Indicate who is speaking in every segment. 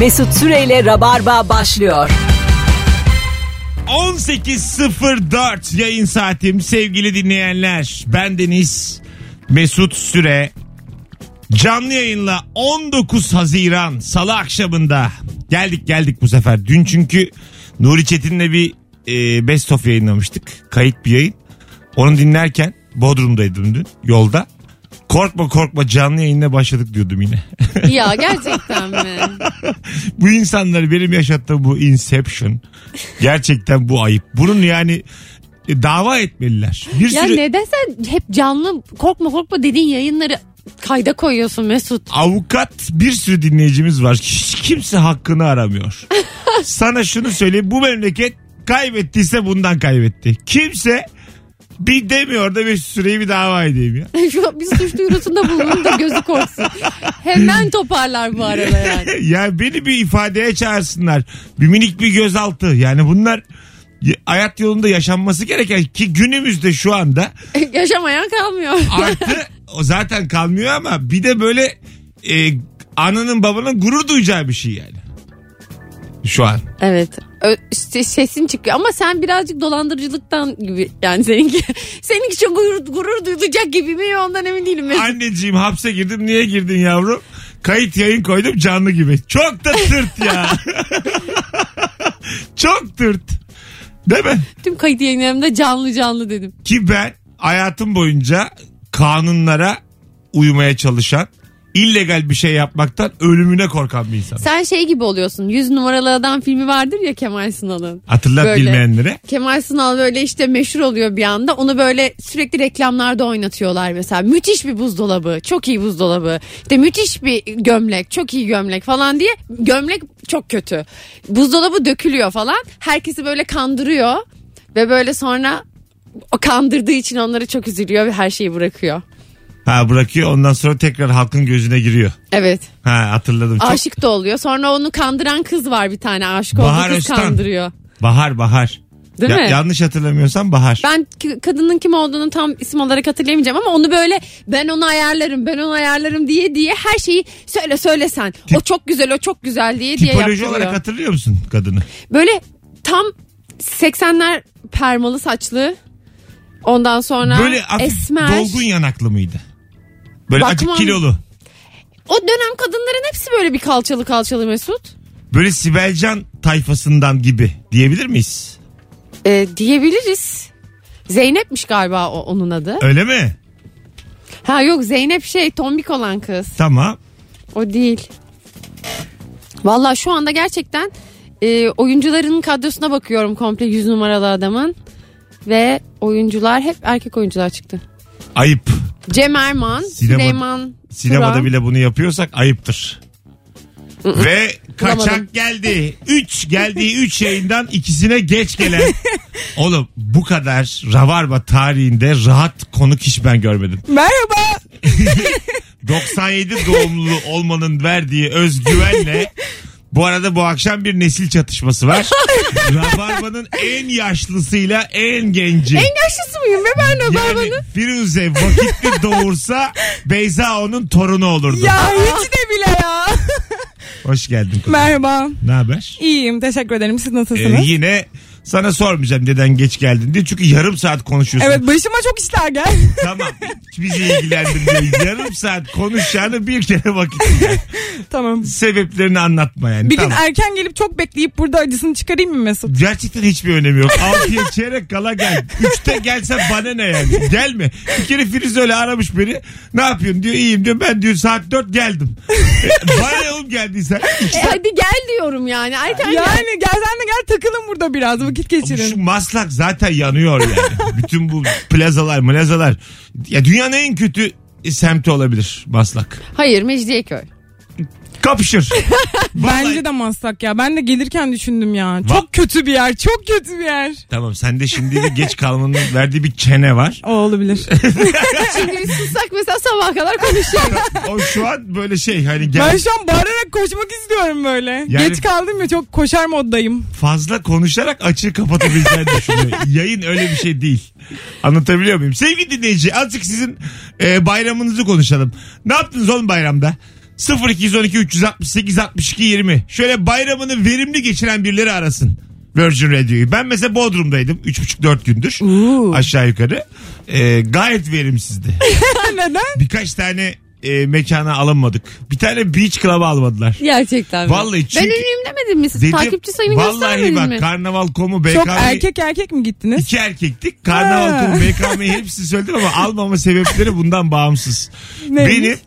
Speaker 1: Mesut Süreyle Rabarba başlıyor.
Speaker 2: 18.04 yayın saatim sevgili dinleyenler. Ben Deniz Mesut Süre. Canlı yayınla 19 Haziran Salı akşamında geldik geldik bu sefer. Dün çünkü Nuri Çetin'le bir e, best of yayınlamıştık. Kayıt bir yayın. Onu dinlerken Bodrum'daydım dün yolda. Korkma korkma canlı yayınla başladık diyordum yine.
Speaker 3: Ya gerçekten mi?
Speaker 2: bu insanları benim yaşattığım bu Inception gerçekten bu ayıp. Bunun yani e, dava etmeliler. Bir
Speaker 3: ya
Speaker 2: sürü
Speaker 3: neden sen hep canlı korkma korkma dediğin yayınları kayda koyuyorsun Mesut?
Speaker 2: avukat bir sürü dinleyicimiz var. Hiç kimse hakkını aramıyor. Sana şunu söyleyeyim bu memleket kaybettiyse bundan kaybetti. Kimse bir demiyor da bir süreyi bir dava edeyim ya.
Speaker 3: Şu bir suç duyurusunda bulunun da gözü korksun. Hemen toparlar bu arada yani.
Speaker 2: ya beni bir ifadeye çağırsınlar. Bir minik bir gözaltı. Yani bunlar y- hayat yolunda yaşanması gereken ki günümüzde şu anda
Speaker 3: Yaşamayan kalmıyor.
Speaker 2: Artı o zaten kalmıyor ama bir de böyle e, ananın babanın gurur duyacağı bir şey yani. Şu an.
Speaker 3: Evet. Ö- işte sesin çıkıyor ama sen birazcık dolandırıcılıktan gibi yani seninki seninki çok gurur, gurur duyulacak gibi mi ondan emin değilim Mesut.
Speaker 2: Anneciğim hapse girdim niye girdin yavrum? Kayıt yayın koydum canlı gibi. Çok da tırt ya. Çok tırt. Değil mi?
Speaker 3: Tüm kayıt yayınlarımda canlı canlı dedim.
Speaker 2: Ki ben hayatım boyunca kanunlara uymaya çalışan illegal bir şey yapmaktan ölümüne korkan bir insanım.
Speaker 3: Sen şey gibi oluyorsun. Yüz numaralı adam filmi vardır ya Kemal Sunal'ın.
Speaker 2: Hatırlat
Speaker 3: Böyle.
Speaker 2: bilmeyenlere.
Speaker 3: Kemal Sunal böyle işte meşhur oluyor bir anda. Onu böyle sürekli reklamlarda oynatıyorlar mesela. Müthiş bir buzdolabı, çok iyi buzdolabı. İşte müthiş bir gömlek, çok iyi gömlek falan diye. Gömlek çok kötü. Buzdolabı dökülüyor falan. Herkesi böyle kandırıyor ve böyle sonra o kandırdığı için onları çok üzülüyor ve her şeyi bırakıyor.
Speaker 2: Ha bırakıyor ondan sonra tekrar halkın gözüne giriyor.
Speaker 3: Evet.
Speaker 2: Ha hatırladım. Çok
Speaker 3: Aşık da oluyor. Sonra onu kandıran kız var bir tane aşık
Speaker 2: Bahar
Speaker 3: olduğu kız
Speaker 2: Öztan.
Speaker 3: kandırıyor.
Speaker 2: Bahar Bahar.
Speaker 3: Değil
Speaker 2: Ya-
Speaker 3: mi?
Speaker 2: Yanlış hatırlamıyorsam Bahar.
Speaker 3: Ben k- kadının kim olduğunu tam isim olarak hatırlayamayacağım ama onu böyle ben onu ayarlarım ben onu ayarlarım diye diye her şeyi söyle söyle sen. o çok güzel o çok güzel diye diye
Speaker 2: Tipoloji
Speaker 3: yaptırıyor.
Speaker 2: olarak hatırlıyor musun kadını?
Speaker 3: Böyle tam 80'ler permalı saçlı ondan sonra
Speaker 2: Böyle hafif
Speaker 3: esmer.
Speaker 2: dolgun yanaklı mıydı? Böyle acık
Speaker 3: Bakmam.
Speaker 2: kilolu.
Speaker 3: O dönem kadınların hepsi böyle bir kalçalı kalçalı Mesut.
Speaker 2: Böyle Sibelcan tayfasından gibi diyebilir miyiz?
Speaker 3: Ee, diyebiliriz. Zeynep'miş galiba o, onun adı.
Speaker 2: Öyle mi?
Speaker 3: Ha yok Zeynep şey tombik olan kız.
Speaker 2: Tamam.
Speaker 3: O değil. Valla şu anda gerçekten e, oyuncuların kadrosuna bakıyorum komple 100 numaralı adamın. Ve oyuncular hep erkek oyuncular çıktı.
Speaker 2: Ayıp.
Speaker 3: Cem Erman,
Speaker 2: Sinema-
Speaker 3: Süleyman
Speaker 2: Sinemada
Speaker 3: Turan.
Speaker 2: bile bunu yapıyorsak ayıptır. Ve
Speaker 3: Bulamadım.
Speaker 2: kaçak geldi. 3 geldiği 3 yayından ikisine geç gelen. Oğlum bu kadar ravarba tarihinde rahat konuk hiç ben görmedim.
Speaker 3: Merhaba.
Speaker 2: 97 doğumlu olmanın verdiği özgüvenle bu arada bu akşam bir nesil çatışması var. Rabarba'nın en yaşlısıyla en genci.
Speaker 3: En yaşlısı mıyım be ben de
Speaker 2: yani Firuze vakitli doğursa Beyza onun torunu olurdu.
Speaker 4: Ya hiç de bile ya.
Speaker 2: Hoş geldin. kuzum.
Speaker 4: Merhaba.
Speaker 2: Ne haber?
Speaker 4: İyiyim teşekkür ederim. Siz
Speaker 2: Ee,
Speaker 4: nasılsınız?
Speaker 2: yine sana sormayacağım neden geç geldin diye. Çünkü yarım saat konuşuyorsun.
Speaker 4: evet başıma çok işler gel.
Speaker 2: Tamam. Bizi ilgilendirmiyor. yarım saat konuşacağını bir kere vakit. ver.
Speaker 4: tamam.
Speaker 2: Sebeplerini anlatma yani.
Speaker 4: Bir
Speaker 2: tamam.
Speaker 4: gün erken gelip çok bekleyip burada acısını çıkarayım mı Mesut?
Speaker 2: Gerçekten hiçbir önemi yok. 6'ya çeyrek kala gel. 3'te gelsen bana ne yani? Gelme. Bir kere Firuze öyle aramış beni. Ne yapıyorsun diyor. iyiyim diyor. Ben diyor saat 4 geldim. E, bana ne oğlum geldiysen? İki-
Speaker 3: Hadi gel diyorum yani. Erken gel.
Speaker 4: Yani gel sen de gel takılın burada biraz vakit
Speaker 2: Şu
Speaker 4: geçirin.
Speaker 2: maslak zaten yanıyor yani. Bütün bu plazalar, plazalar. Ya dünyanın en kötü semti olabilir maslak.
Speaker 3: Hayır Mecidiyeköy.
Speaker 2: Kapışır. Vallahi-
Speaker 4: Bence de maslak ya. Ben de gelirken düşündüm ya. Çok kötü bir yer. Çok kötü bir yer.
Speaker 2: Tamam sende şimdi bir geç kalmanın verdiği bir çene var.
Speaker 4: O olabilir.
Speaker 3: Şimdi biz sussak mesela sabah kadar konuşacağız.
Speaker 2: O şu an böyle şey hani gel.
Speaker 4: ben şu an bağırarak koşmak istiyorum böyle.
Speaker 2: Yani-
Speaker 4: Geç kaldım ya çok koşar moddayım.
Speaker 2: fazla konuşarak açığı kapatabileceğini düşünüyor. Yayın öyle bir şey değil. Anlatabiliyor muyum? Sevgili dinleyici azıcık sizin e, bayramınızı konuşalım. Ne yaptınız oğlum bayramda? 0212 368 62 20. Şöyle bayramını verimli geçiren birileri arasın. Virgin Radio'yu. Ben mesela Bodrum'daydım 3,5-4 gündür aşağı yukarı. Ee, gayet verimsizdi.
Speaker 4: Neden?
Speaker 2: Birkaç tane e, mekana alınmadık. Bir tane beach club'a almadılar.
Speaker 3: Gerçekten. mi?
Speaker 2: Vallahi
Speaker 3: Ben
Speaker 2: çünkü...
Speaker 3: ünlüyüm demedim mi? Siz
Speaker 2: Dedim,
Speaker 3: takipçi sayını
Speaker 2: Vallahi
Speaker 3: göstermedin
Speaker 2: bak
Speaker 3: mi?
Speaker 2: karnaval.com'u BKM...
Speaker 4: Çok erkek erkek mi gittiniz?
Speaker 2: İki erkektik. Karnaval.com
Speaker 4: Ha.
Speaker 2: BKM'yi hepsini söyledim ama almama sebepleri bundan bağımsız.
Speaker 4: Neymiş?
Speaker 2: Benim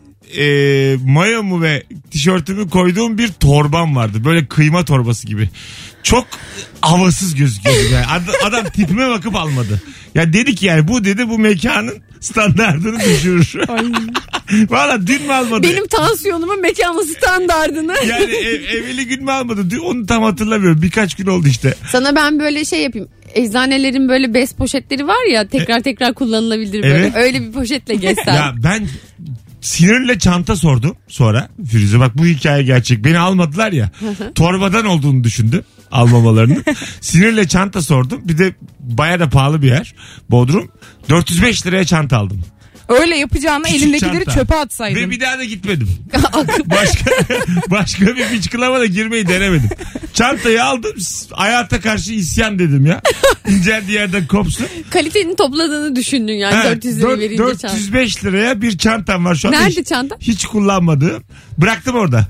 Speaker 2: e, mayomu ve tişörtümü koyduğum bir torbam vardı. Böyle kıyma torbası gibi. Çok havasız gözüküyordu. Yani. Ad- adam tipime bakıp almadı. Ya dedi ki yani bu dedi bu mekanın standartını düşürür. Valla dün mü almadı?
Speaker 3: Benim tansiyonumun mekanı standardını.
Speaker 2: Yani ev, evveli gün mü almadı? Dün onu tam hatırlamıyorum. Birkaç gün oldu işte.
Speaker 3: Sana ben böyle şey yapayım. Eczanelerin böyle bez poşetleri var ya tekrar tekrar kullanılabilir böyle.
Speaker 2: E- Evet.
Speaker 3: Öyle bir poşetle gezsen.
Speaker 2: Ya ben sinirle çanta sordum sonra Firuze bak bu hikaye gerçek beni almadılar ya torbadan olduğunu düşündüm almamalarını sinirle çanta sordum bir de baya da pahalı bir yer Bodrum 405 liraya çanta aldım
Speaker 4: Öyle yapacağına
Speaker 2: Küçük
Speaker 4: elindekileri
Speaker 2: çanta.
Speaker 4: çöpe
Speaker 2: ve
Speaker 4: atsaydın.
Speaker 2: bir daha da gitmedim başka başka bir biçkılama da girmeyi denemedim çantayı aldım s- hayata karşı isyan dedim ya inceldiği yerden kopsun
Speaker 3: Kalitenin topladığını düşündün yani
Speaker 2: Ha,
Speaker 3: 400 lira
Speaker 2: dört-
Speaker 3: verince çanta.
Speaker 2: 405 liraya bir çantam var şu an.
Speaker 3: Nerede
Speaker 2: Hiç-
Speaker 3: çanta?
Speaker 2: Hiç kullanmadığım. Bıraktım orada.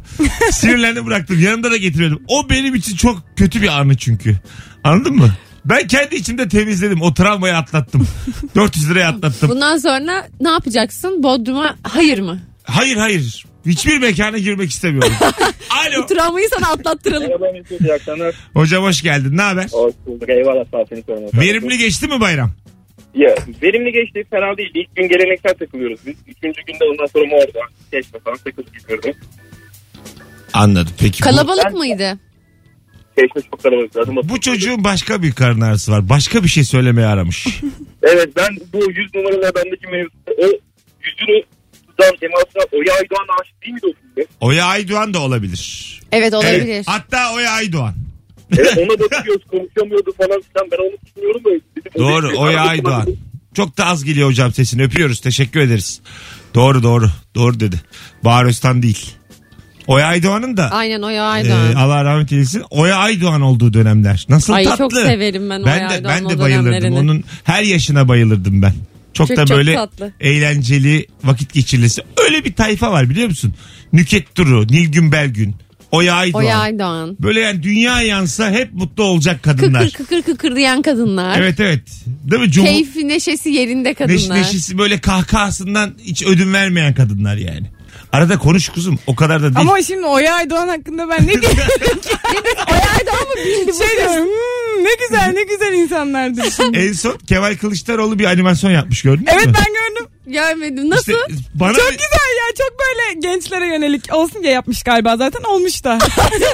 Speaker 2: Sinirlendim bıraktım. Yanımda da getiriyordum. O benim için çok kötü bir anı çünkü. Anladın mı? Ben kendi içimde temizledim. O travmayı atlattım. 400 liraya atlattım.
Speaker 3: Bundan sonra ne yapacaksın? Bodrum'a hayır mı?
Speaker 2: Hayır hayır. Hiçbir mekana girmek istemiyorum. Alo.
Speaker 3: Travmayı sana atlattıralım.
Speaker 5: Merhaba Mesut, iyi akşamlar.
Speaker 2: Hocam hoş geldin. Ne haber?
Speaker 5: Hoş bulduk, eyvallah sağ ol, seni sormak.
Speaker 2: Verimli geçti mi bayram?
Speaker 5: Ya, verimli geçti, fena değil. İlk gün geleneksel takılıyoruz biz. Üçüncü günde ondan sonra morda, keşke falan takıl gidiyoruz.
Speaker 2: Anladım. Peki bu,
Speaker 3: Kalabalık mıydı?
Speaker 5: Keşke çok kalabalık. Adım atıyor.
Speaker 2: bu çocuğun başka bir karın ağrısı var. Başka bir şey söylemeye aramış.
Speaker 5: Evet ben bu 100 numaralı bendeki mevzu. O yüzünü tutan temasına o yaydan aşık değil miydi o filmde?
Speaker 2: Oya Aydoğan da olabilir.
Speaker 3: Evet olabilir.
Speaker 2: Evet. Hatta Oya Aydoğan.
Speaker 5: Evet, ona bakıyoruz konuşamıyordu falan filan. Ben onu düşünüyorum da. Dedim, o
Speaker 2: Doğru
Speaker 5: değil mi?
Speaker 2: Oya Aydoğan. Çok da az geliyor hocam sesini öpüyoruz teşekkür ederiz. Doğru doğru doğru dedi. Bahar Öztan değil. Oya Aydoğan'ın da
Speaker 3: Aynen o
Speaker 2: e,
Speaker 3: Aydoğan.
Speaker 2: Allah rahmet eylesin Oya Aydoğan olduğu dönemler. Nasıl
Speaker 3: Ay,
Speaker 2: tatlı.
Speaker 3: çok severim ben Oya
Speaker 2: ben de,
Speaker 3: Aydoğan'ın
Speaker 2: ben de
Speaker 3: o
Speaker 2: bayılırdım.
Speaker 3: dönemlerini.
Speaker 2: Onun her yaşına bayılırdım ben. Çok,
Speaker 3: Çok-
Speaker 2: da
Speaker 3: çok
Speaker 2: böyle
Speaker 3: tatlı.
Speaker 2: eğlenceli vakit geçirilesi. Öyle bir tayfa var biliyor musun? Nüket Duru, Nilgün Belgün, Oya Aydoğan.
Speaker 3: Oya Aydoğan.
Speaker 2: Böyle yani dünya yansa hep mutlu olacak kadınlar.
Speaker 3: Kıkır kıkır kıkır diyen kadınlar.
Speaker 2: Evet evet. Değil mi? Cumhur-
Speaker 3: Keyfi neşesi yerinde
Speaker 2: Neş,
Speaker 3: kadınlar.
Speaker 2: neşesi böyle kahkahasından hiç ödün vermeyen kadınlar yani. Arada konuş kuzum o kadar da değil.
Speaker 4: Ama şimdi Oya Aydoğan hakkında ben ne diyeyim?
Speaker 3: Oya Aydoğan mı bildi bu?
Speaker 4: şey diyorum. "Hmm, ne güzel ne güzel insanlardır şimdi.
Speaker 2: En son Kemal Kılıçdaroğlu bir animasyon yapmış gördün mü?
Speaker 4: Evet ben gördüm.
Speaker 3: Görmedim. Nasıl?
Speaker 2: İşte bana
Speaker 4: Çok
Speaker 2: bir-
Speaker 4: güzel ya çok böyle gençlere yönelik olsun diye yapmış galiba zaten olmuş da.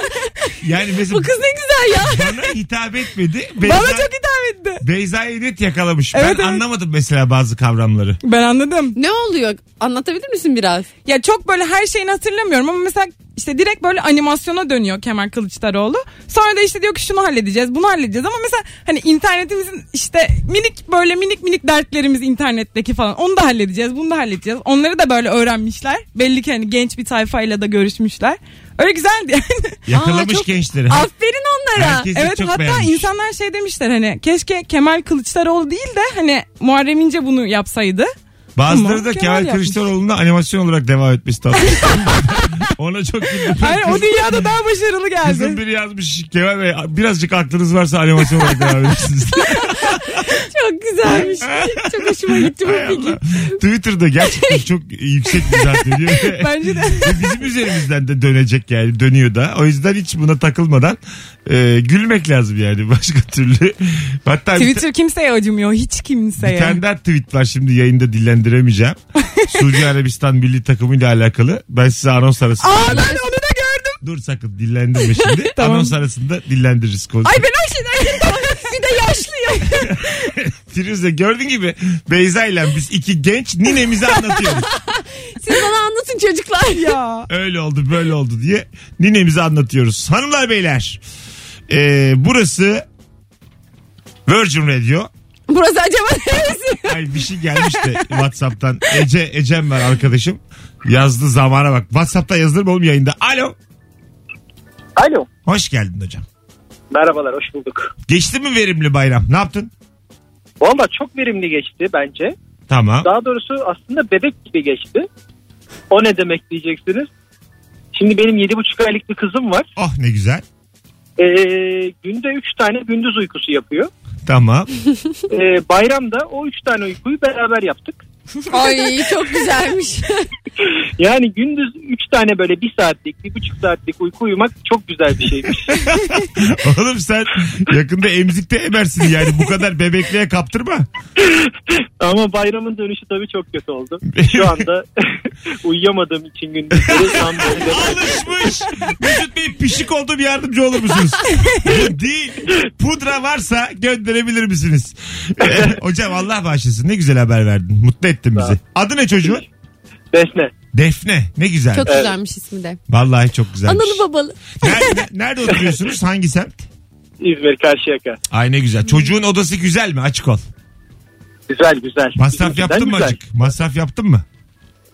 Speaker 2: yani mesela
Speaker 4: Bu kız ne güzel ya.
Speaker 2: bana hitap etmedi. Beyza,
Speaker 4: Bana çok hitap etti.
Speaker 2: Beyza Edet yakalamış. ben
Speaker 4: Evet, evet.
Speaker 2: anlamadım mesela bazı kavramları.
Speaker 4: Ben anladım.
Speaker 3: Ne oluyor? Anlatabilir misin biraz?
Speaker 4: Ya çok böyle her şeyini hatırlamıyorum ama mesela işte direkt böyle animasyona dönüyor Kemal Kılıçdaroğlu. Sonra da işte diyor ki şunu halledeceğiz, bunu halledeceğiz ama mesela hani internetimizin işte minik böyle minik minik dertlerimiz internetteki falan onu da halledeceğiz, bunu da halledeceğiz. Onları da böyle öğrenmişler. Belli ki hani genç bir tayfayla da görüşmüşler. Öyle güzeldi yani.
Speaker 2: Yakalamış
Speaker 3: çok-
Speaker 2: gençleri.
Speaker 3: Aferin onlara.
Speaker 2: Herkesi
Speaker 4: Evet
Speaker 2: çok
Speaker 4: hatta
Speaker 2: beğenmiş.
Speaker 4: insanlar şey demişler hani keşke Kemal Kılıçdaroğlu değil de hani Muharrem İnce bunu yapsaydı.
Speaker 2: Bazıları
Speaker 4: Ama
Speaker 2: da
Speaker 4: Kemal
Speaker 2: Kemal
Speaker 4: yapmış.
Speaker 2: Kılıçdaroğlu'nun animasyon olarak devam etmesi tabii. Ona çok güldüm.
Speaker 4: Hayır o dünyada daha başarılı
Speaker 2: Kızım
Speaker 4: geldi.
Speaker 2: biri yazmış Kemal Bey birazcık aklınız varsa animasyon olarak devam edersiniz.
Speaker 3: Çok güzelmiş. Çok hoşuma gitti bu
Speaker 2: Hay
Speaker 3: fikir.
Speaker 2: Allah. Twitter'da gerçekten çok yüksek mizah dönüyor.
Speaker 4: Bence de.
Speaker 2: Ve Bizim üzerimizden de dönecek yani dönüyor da. O yüzden hiç buna takılmadan e, gülmek lazım yani başka türlü. Hatta bir, ta-
Speaker 4: Twitter kimseye acımıyor hiç
Speaker 2: bir
Speaker 4: kimseye.
Speaker 2: tane daha tweet var şimdi yayında dillendiremeyeceğim. Suudi Arabistan milli takımıyla alakalı. Ben size anons arasında...
Speaker 4: Aa ben onu da gördüm.
Speaker 2: Dur sakın dillendirme şimdi.
Speaker 4: Tamam.
Speaker 2: Anons arasında dillendiririz konuyu.
Speaker 4: Ay ben her şeyden bir de yaşlıyım.
Speaker 2: Firuze gördüğün gibi Beyza ile biz iki genç ninemizi anlatıyoruz.
Speaker 3: Siz bana anlatın çocuklar.
Speaker 4: ya.
Speaker 2: öyle oldu böyle oldu diye ninemize anlatıyoruz. Hanımlar beyler e, burası Virgin Radio.
Speaker 3: Burası acaba neresi?
Speaker 2: Ay bir şey gelmişti Whatsapp'tan. Ece Ecem var arkadaşım. Yazdı zamana bak. Whatsapp'ta yazılır mı oğlum yayında? Alo.
Speaker 5: Alo.
Speaker 2: Hoş geldin hocam.
Speaker 5: Merhabalar hoş bulduk.
Speaker 2: Geçti mi verimli bayram? Ne yaptın?
Speaker 5: Valla çok verimli geçti bence.
Speaker 2: Tamam.
Speaker 5: Daha doğrusu aslında bebek gibi geçti. O ne demek diyeceksiniz. Şimdi benim 7,5 aylık bir kızım var.
Speaker 2: Oh ne güzel.
Speaker 5: Ee, günde 3 tane gündüz uykusu yapıyor.
Speaker 2: Tamam.
Speaker 5: Ee, bayramda o 3 tane uykuyu beraber yaptık.
Speaker 3: Ay çok güzelmiş.
Speaker 5: Yani gündüz 3 tane böyle 1 saatlik, 1,5 saatlik uyku uyumak çok güzel bir şeymiş.
Speaker 2: Oğlum sen yakında emzikte emersin yani bu kadar bebekliğe kaptırma.
Speaker 5: Ama bayramın dönüşü tabii çok kötü oldu. Şu anda uyuyamadığım için gündüzleri tam böyle.
Speaker 2: Alışmış. Mesut Bey pişik olduğum yardımcı olur musunuz? Değil. Pudra varsa gönderebilir misiniz? Ee, hocam Allah bağışlasın. Ne güzel haber verdin. Mutlu ettin bizi. Adı ne çocuğun?
Speaker 5: Besne.
Speaker 2: Defne. Ne güzel.
Speaker 3: Çok güzelmiş ismi de.
Speaker 2: Vallahi çok güzelmiş.
Speaker 3: Analı babalı.
Speaker 2: Nerede, nerede oturuyorsunuz? Hangi semt?
Speaker 5: İzmir Karşıyaka.
Speaker 2: Ay ne
Speaker 5: Hmm.
Speaker 2: güzel. Çocuğun odası güzel mi? Açık ol.
Speaker 5: Güzel güzel.
Speaker 2: Masraf
Speaker 5: Bizimkinden
Speaker 2: yaptın mı
Speaker 5: güzel.
Speaker 2: açık? Masraf yaptın mı?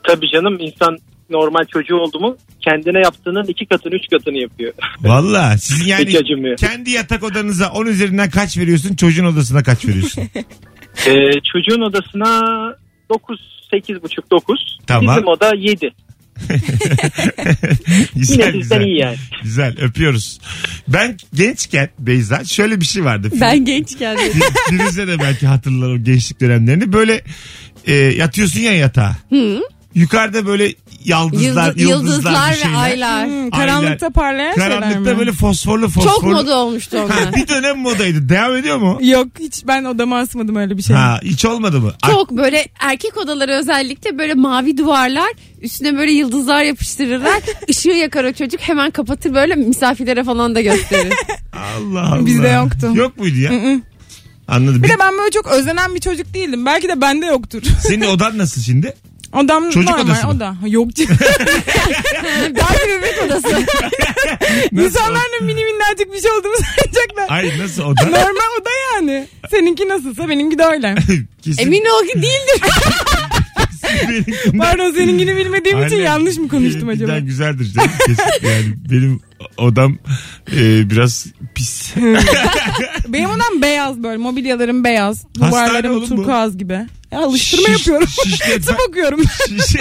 Speaker 5: Tabii canım insan normal çocuğu oldu mu kendine yaptığının iki katını üç katını yapıyor.
Speaker 2: Vallahi sizin yani
Speaker 5: Hiç acımıyor.
Speaker 2: kendi yatak odanıza 10 üzerinden kaç veriyorsun? Çocuğun odasına kaç veriyorsun?
Speaker 5: Ee, çocuğun odasına 9 8 buçuk 9.
Speaker 2: Tamam.
Speaker 5: Bizim oda 7.
Speaker 2: güzel,
Speaker 5: Yine bizden iyi yani.
Speaker 2: Güzel öpüyoruz. Ben gençken Beyza şöyle bir şey vardı.
Speaker 3: Ben genç geldim.
Speaker 2: Firuze de belki hatırlar o gençlik dönemlerini. Böyle e, yatıyorsun ya yatağa. Yukarıda böyle yıldızlar,
Speaker 3: Yıldız-
Speaker 2: yıldızlar,
Speaker 3: yıldızlar
Speaker 2: bir
Speaker 3: ve
Speaker 2: şeyler.
Speaker 3: aylar. şey
Speaker 4: Hmm, karanlıkta parlayan şeyler mi?
Speaker 2: Karanlıkta böyle fosforlu fosforlu.
Speaker 3: Çok moda olmuştu
Speaker 2: Ha,
Speaker 3: onlar.
Speaker 2: bir dönem modaydı. Devam ediyor mu?
Speaker 4: Yok hiç ben odama asmadım öyle bir şey.
Speaker 2: Ha, hiç olmadı mı? Ay,
Speaker 3: Çok böyle erkek odaları özellikle böyle mavi duvarlar üstüne böyle yıldızlar yapıştırırlar. Işığı yakar o çocuk hemen kapatır böyle misafirlere falan da gösterir.
Speaker 2: Allah Allah.
Speaker 4: Bizde yoktu.
Speaker 2: Yok muydu ya? Anladım.
Speaker 4: Bir de ben böyle çok özenen bir çocuk değildim. Belki de bende yoktur.
Speaker 2: Senin odan nasıl şimdi?
Speaker 4: Odam
Speaker 2: Çocuk
Speaker 4: normal
Speaker 2: odası mı?
Speaker 4: oda. Ha, Yok canım.
Speaker 3: Daha bir bebek odası.
Speaker 4: İnsanlar da mini minnacık bir şey olduğumu sanacaklar.
Speaker 2: Ay nasıl oda?
Speaker 4: Normal oda yani. Seninki nasılsa benimki de öyle.
Speaker 2: Kesin
Speaker 3: Emin ol ki değildir.
Speaker 2: benim-
Speaker 4: Pardon seninkini bilmediğim için
Speaker 2: Aynen.
Speaker 4: yanlış mı konuştum
Speaker 2: Benimkinden
Speaker 4: acaba?
Speaker 2: güzeldir canım kesin. Yani benim odam e, biraz pis.
Speaker 4: Benim odam beyaz böyle mobilyalarım beyaz.
Speaker 2: Hastane
Speaker 4: Duvarlarım
Speaker 2: oğlum bu.
Speaker 4: turkuaz gibi. Ya alıştırma
Speaker 2: Şiş-
Speaker 4: yapıyorum.
Speaker 2: şişletme-
Speaker 4: Tıp okuyorum.
Speaker 2: Şişe.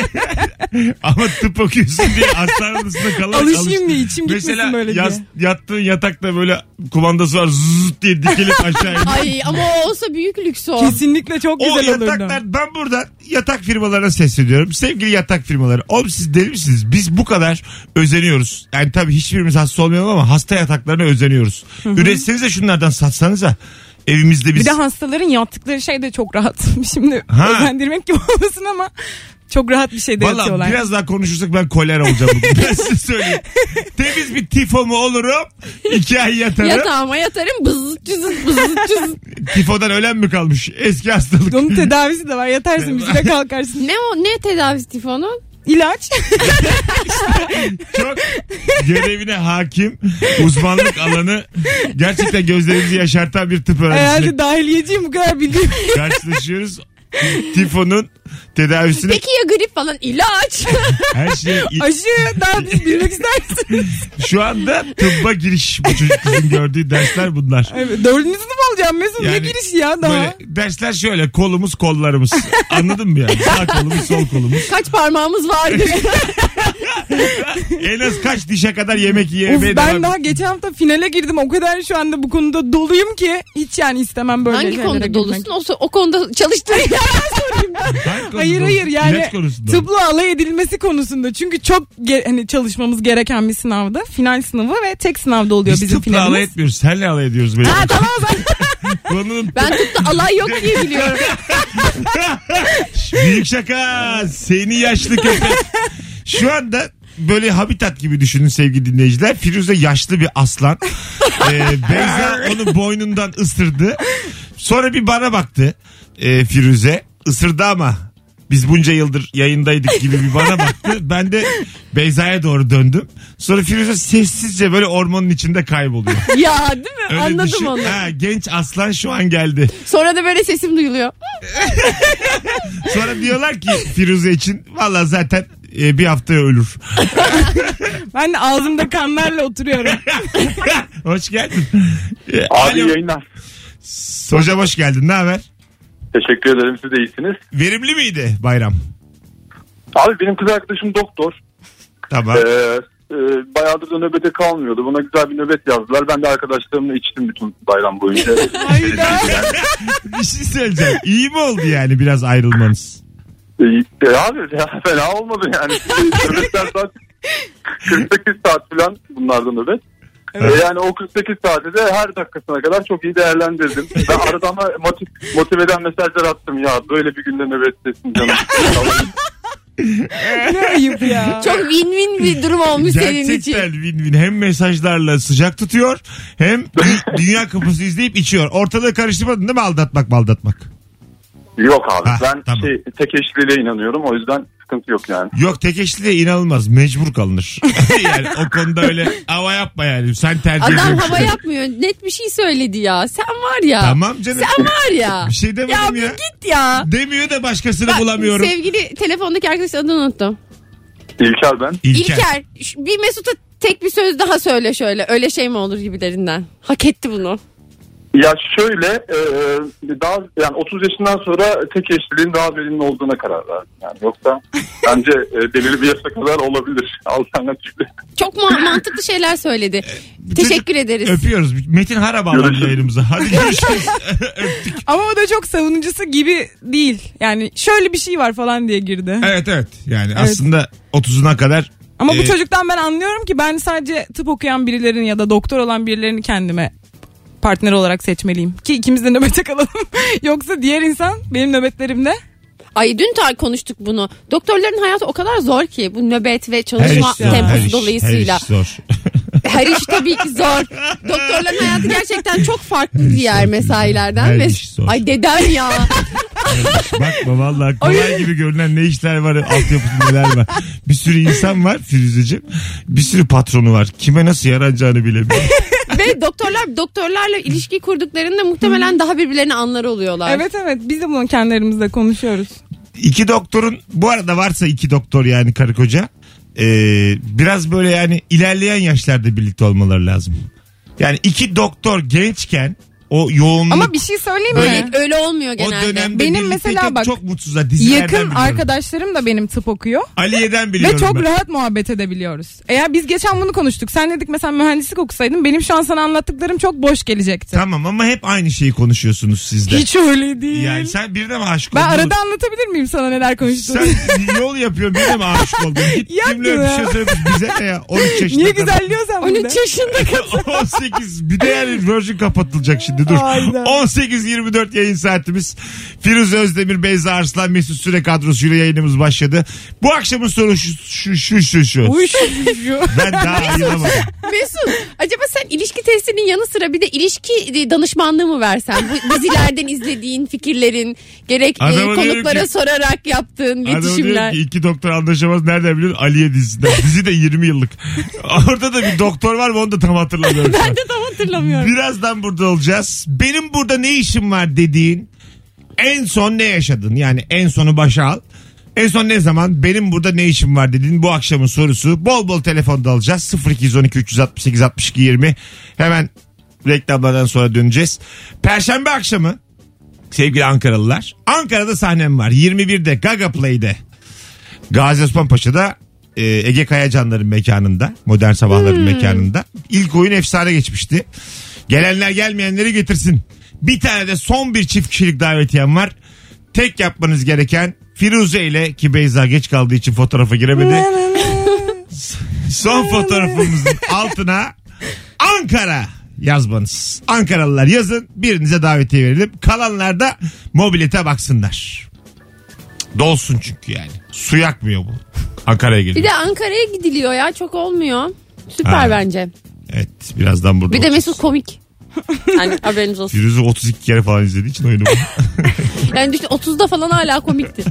Speaker 2: Ama tıp okuyorsun diye hastane odasında kalarak
Speaker 4: Alışayım
Speaker 2: alıştın.
Speaker 4: diye, içim gitmesin
Speaker 2: Mesela
Speaker 4: böyle
Speaker 2: yas-
Speaker 4: diye.
Speaker 2: yattığın yatakta böyle kumandası var zzz diye dikilip aşağı iniyor.
Speaker 3: Ay ama o olsa büyük lüks o.
Speaker 4: Kesinlikle çok
Speaker 2: O
Speaker 4: güzel olurdu.
Speaker 2: yataklar ben buradan yatak firmalarına sesleniyorum. Sevgili yatak firmaları. Oğlum siz deli misiniz? Biz bu kadar özeniyoruz. Yani tabii hiçbirimiz hasta olmayalım ama hasta yataklarına özeniyoruz. Üretseniz de şunlardan satsanıza. Evimizde biz.
Speaker 4: Bir de hastaların yattıkları şey de çok rahat. Şimdi
Speaker 2: Ha.
Speaker 4: özendirmek gibi olmasın ama çok rahat bir şeyde
Speaker 2: Valla
Speaker 4: yatıyorlar.
Speaker 2: biraz daha konuşursak ben kolera olacağım bugün. ben size söyleyeyim. Temiz bir tifo mu olurum? İki ay yatarım.
Speaker 3: Yatağıma yatarım bızıt cızıt bızıt cızıt.
Speaker 2: Tifodan ölen mi kalmış? Eski hastalık.
Speaker 4: Onun tedavisi de var. Yatarsın bir süre kalkarsın.
Speaker 3: Ne o ne tedavisi Tifon'un?
Speaker 4: İlaç.
Speaker 2: Çok görevine hakim. Uzmanlık alanı. Gerçekten gözlerimizi yaşartan bir tıp öğrencisiyle
Speaker 4: Herhalde dahiliyeciyim bu kadar bildiğim.
Speaker 2: karşılaşıyoruz. Tifonun tedavisine
Speaker 3: Peki ya grip falan ilaç.
Speaker 2: her şey
Speaker 4: Aşı daha biz bilmek istersin.
Speaker 2: şu anda tıbba giriş bu çocuk kızın gördüğü dersler bunlar.
Speaker 4: Evet, dördüncü sınıf olacağım Mesut. ne
Speaker 2: Yani
Speaker 4: girişi ya daha?
Speaker 2: Böyle dersler şöyle kolumuz kollarımız anladın mı yani sağ kolumuz sol kolumuz
Speaker 3: Kaç parmağımız vardır.
Speaker 2: en az kaç dişe kadar yemek
Speaker 4: Of,
Speaker 2: yemeye
Speaker 4: ben
Speaker 2: devam
Speaker 4: daha geçen hafta finale girdim. O kadar şu anda bu konuda doluyum ki hiç yani istemem böyle
Speaker 3: Hangi
Speaker 4: şeylere
Speaker 3: konuda
Speaker 4: girmek.
Speaker 3: dolusun? O, o konuda çalıştır.
Speaker 2: Hangi konuda?
Speaker 4: Hayır hayır yani
Speaker 2: İlaç konusunda.
Speaker 4: tıpla alay edilmesi konusunda. Çünkü çok ge- hani çalışmamız gereken bir sınavda. Final sınavı ve tek sınavda oluyor
Speaker 2: Biz
Speaker 4: bizim
Speaker 2: tıpla
Speaker 4: finalimiz.
Speaker 2: alay etmiyoruz. Senle alay ediyoruz böyle.
Speaker 3: ha tamam o zaman.
Speaker 2: Konunun
Speaker 3: Ben tıpta alay yok diye biliyorum.
Speaker 2: büyük şaka. Seni yaşlı köpek. Şu anda böyle habitat gibi düşünün sevgili dinleyiciler. Firuze yaşlı bir aslan. Ee, Beyza onu boynundan ısırdı. Sonra bir bana baktı ee, Firuze. e, Isırdı ama Biz bunca yıldır yayındaydık gibi bir bana baktı. Ben de Beyza'ya doğru döndüm. Sonra Firuze sessizce böyle ormanın içinde kayboluyor.
Speaker 3: ya değil mi?
Speaker 2: Öyle
Speaker 3: Anladım
Speaker 2: düşün.
Speaker 3: onu.
Speaker 2: Ha, genç aslan şu an geldi.
Speaker 3: Sonra da böyle sesim duyuluyor.
Speaker 2: Sonra diyorlar ki Firuze için valla zaten e, bir haftaya ölür.
Speaker 4: Ben de ağzımda kanlarla oturuyorum.
Speaker 2: hoş geldin. E,
Speaker 5: Abi
Speaker 2: alo.
Speaker 5: yayınlar.
Speaker 2: Hocam hoş geldin. Ne haber?
Speaker 5: Teşekkür ederim siz de iyisiniz.
Speaker 2: Verimli miydi bayram?
Speaker 5: Abi benim kız arkadaşım doktor.
Speaker 2: Tamam.
Speaker 5: Ee, e, bayağıdır da nöbete kalmıyordu. Buna güzel bir nöbet yazdılar. Ben de arkadaşlarımla içtim bütün bayram boyunca. Ee,
Speaker 2: bir şey söyleyeceğim. İyi mi oldu yani biraz ayrılmanız?
Speaker 5: Ee, e, abi ya, fena olmadı yani. Nöbetler saat 48 saat falan bunlardan nöbet.
Speaker 2: Evet.
Speaker 5: Ee, yani o 48 saati de her dakikasına kadar çok iyi değerlendirdim. Ben arada ama motiv- motive eden mesajlar attım ya. Böyle bir günde nöbettesin canım.
Speaker 4: ne ayıp ya.
Speaker 3: Çok win-win bir durum olmuş senin için.
Speaker 2: Gerçekten win-win. Hem mesajlarla sıcak tutuyor hem dü- dünya kapısı izleyip içiyor. Ortalığı karıştırmadın değil mi aldatmak maldatmak?
Speaker 5: Yok abi
Speaker 2: Ha,
Speaker 5: ben
Speaker 2: tamam.
Speaker 5: şey, tek eşliliğe inanıyorum o yüzden sıkıntı yok yani.
Speaker 2: Yok tek eşliliğe inanılmaz. Mecbur kalınır. yani o konuda öyle hava yapma yani. Sen tercih
Speaker 3: Adam
Speaker 2: ediyorsun.
Speaker 3: hava yapmıyor. Net bir şey söyledi ya. Sen var ya.
Speaker 2: Tamam canım.
Speaker 3: Sen var ya.
Speaker 2: Bir şey demedim
Speaker 3: ya.
Speaker 2: ya.
Speaker 3: bir git ya.
Speaker 2: Demiyor da başkasını bulamıyorum.
Speaker 3: Sevgili telefondaki arkadaşın adını unuttum.
Speaker 5: İlker ben.
Speaker 2: İlker.
Speaker 3: İlker. şu- bir Mesut'a tek bir söz daha söyle şöyle. Öyle şey mi olur gibilerinden. Hak etti bunu.
Speaker 5: Ya şöyle e, daha yani 30 yaşından sonra tek eşliliğin daha verimli olduğuna karar verdim. Yani yoksa bence e, belirli bir yaşa kadar olabilir alternatifle.
Speaker 3: Çok ma- mantıklı şeyler söyledi.
Speaker 2: E, Bütün-
Speaker 3: Teşekkür ederiz.
Speaker 2: Öpüyoruz. Metin Harap bağlandı
Speaker 5: Görüşürüz.
Speaker 2: yayınımıza. Hadi görüşürüz. Öptük.
Speaker 4: Ama o da çok savunucusu gibi değil. Yani şöyle bir şey var falan diye girdi.
Speaker 2: Evet evet. Yani aslında 30'una kadar
Speaker 4: Ama
Speaker 2: Ee,
Speaker 4: bu çocuktan ben anlıyorum ki ben sadece tıp okuyan birilerini ya da doktor olan birilerini kendime partner olarak seçmeliyim. Ki ikimiz de nöbete kalalım. Yoksa diğer insan benim nöbetlerimde
Speaker 3: Ay dün tar konuştuk bunu. Doktorların hayatı o kadar zor ki bu nöbet ve
Speaker 2: her iş
Speaker 3: çalışma
Speaker 2: zor.
Speaker 3: temposu
Speaker 2: her iş-
Speaker 3: dolayısıyla.
Speaker 2: Her iş zor.
Speaker 3: Her iş tabii ki zor. Doktorların hayatı gerçekten çok farklı diğer mesailerden.
Speaker 2: Her
Speaker 3: ve...
Speaker 2: iş zor.
Speaker 3: Ay dedem ya.
Speaker 2: Bakma vallahi kolay gibi görünen ne işler var altyapısı neler var. Bir sürü insan var Firuzeciğim. Bir sürü patronu var. Kime nasıl yaranacağını bilemiyor.
Speaker 3: ve doktorlar doktorlarla ilişki kurduklarında muhtemelen daha birbirlerini anlar oluyorlar.
Speaker 4: Evet evet biz de bunu kendi aramızda konuşuyoruz.
Speaker 2: İki doktorun bu arada varsa iki doktor yani karı koca. ee, biraz böyle yani ilerleyen yaşlarda birlikte olmaları lazım. Yani iki doktor gençken o yoğunluk
Speaker 4: Ama bir şey söyleyeyim mi?
Speaker 3: Öyle, öyle olmuyor
Speaker 2: o
Speaker 3: genelde.
Speaker 2: dönemde
Speaker 4: Benim
Speaker 2: benim mesela
Speaker 4: mesela bak,
Speaker 2: çok mutsuzlar dizilerden
Speaker 4: Yakın
Speaker 2: biliyorum.
Speaker 4: arkadaşlarım da benim tıp okuyor.
Speaker 2: Aliye'den
Speaker 4: Ve
Speaker 2: biliyorum
Speaker 4: çok
Speaker 2: ben.
Speaker 4: rahat muhabbet edebiliyoruz. Eğer biz geçen bunu konuştuk. Sen dedik mesela mühendislik okusaydın benim şu an sana anlattıklarım çok boş gelecekti.
Speaker 2: Tamam ama hep aynı şeyi konuşuyorsunuz sizde.
Speaker 4: Hiç öyle değil.
Speaker 2: Yani sen birine mi aşık
Speaker 4: ben
Speaker 2: oldun?
Speaker 4: arada anlatabilir miyim sana neler konuştuğumu?
Speaker 2: Sen yol yapıyorsun birine mi aşık oldun? Git
Speaker 4: Yapma
Speaker 2: kimle öpüşüyorsun öpüş. Bize ne ya? 13 yaşında.
Speaker 4: Niye
Speaker 2: kadar.
Speaker 4: güzelliyorsan bunu?
Speaker 3: 13 yaşında
Speaker 2: 18 bir de yani Virgin kapatılacak şimdi dur.
Speaker 4: Aynen.
Speaker 2: 18-24 yayın saatimiz. Firuze Özdemir, Beyza Arslan, Mesut Süre kadrosuyla yayınımız başladı. Bu akşamın soru şu şu şu şu. şu.
Speaker 4: Uş.
Speaker 2: Ben daha ayılamadım.
Speaker 3: Mesut acaba sen ilişki testinin yanı sıra bir de ilişki e, danışmanlığı mı versen? Bu dizilerden izlediğin fikirlerin gerek e,
Speaker 2: Adama diyorum
Speaker 3: konuklara
Speaker 2: ki-
Speaker 3: sorarak yaptığın
Speaker 2: Adam diyor
Speaker 3: iletişimler.
Speaker 2: ki iki doktor anlaşamaz nereden biliyorsun? Aliye dizisinden. Dizi de 20 yıllık. Orada da bir doktor var mı onu da tam hatırlamıyorum. ben de tam hatırlamıyorum. Birazdan burada olacağız. Benim burada ne işim var dediğin en son ne yaşadın? Yani en sonu başa al. En son ne zaman benim burada ne işim var dediğin bu akşamın sorusu. Bol bol telefonda alacağız. 0212 368 62 20. Hemen reklamlardan sonra döneceğiz. Perşembe akşamı sevgili Ankaralılar. Ankara'da sahnem var. 21'de Gaga Play'de. Gazi Osman Paşa'da e, Ege Kayacanların mekanında. Modern Sabahların mekanında. İlk oyun efsane geçmişti. Gelenler gelmeyenleri getirsin. Bir tane de son bir çift kişilik davetiyem var. Tek yapmanız gereken Firuze ile ki Beyza geç kaldığı için fotoğrafa giremedi. son fotoğrafımızın altına Ankara yazmanız. Ankaralılar yazın birinize davetiye verelim. Kalanlar da mobilete baksınlar. Dolsun çünkü yani. Su yakmıyor bu. Ankara'ya
Speaker 3: Bir
Speaker 2: geliyor.
Speaker 3: de Ankara'ya gidiliyor ya çok olmuyor. Süper
Speaker 2: Ha.
Speaker 3: bence.
Speaker 2: Evet birazdan burada
Speaker 3: Bir de
Speaker 2: olacağız.
Speaker 3: Mesut komik. Yani haberiniz olsun.
Speaker 2: Firuze 32 kere falan izlediği için oyunu.
Speaker 3: Yani düşün 30'da falan hala komikti.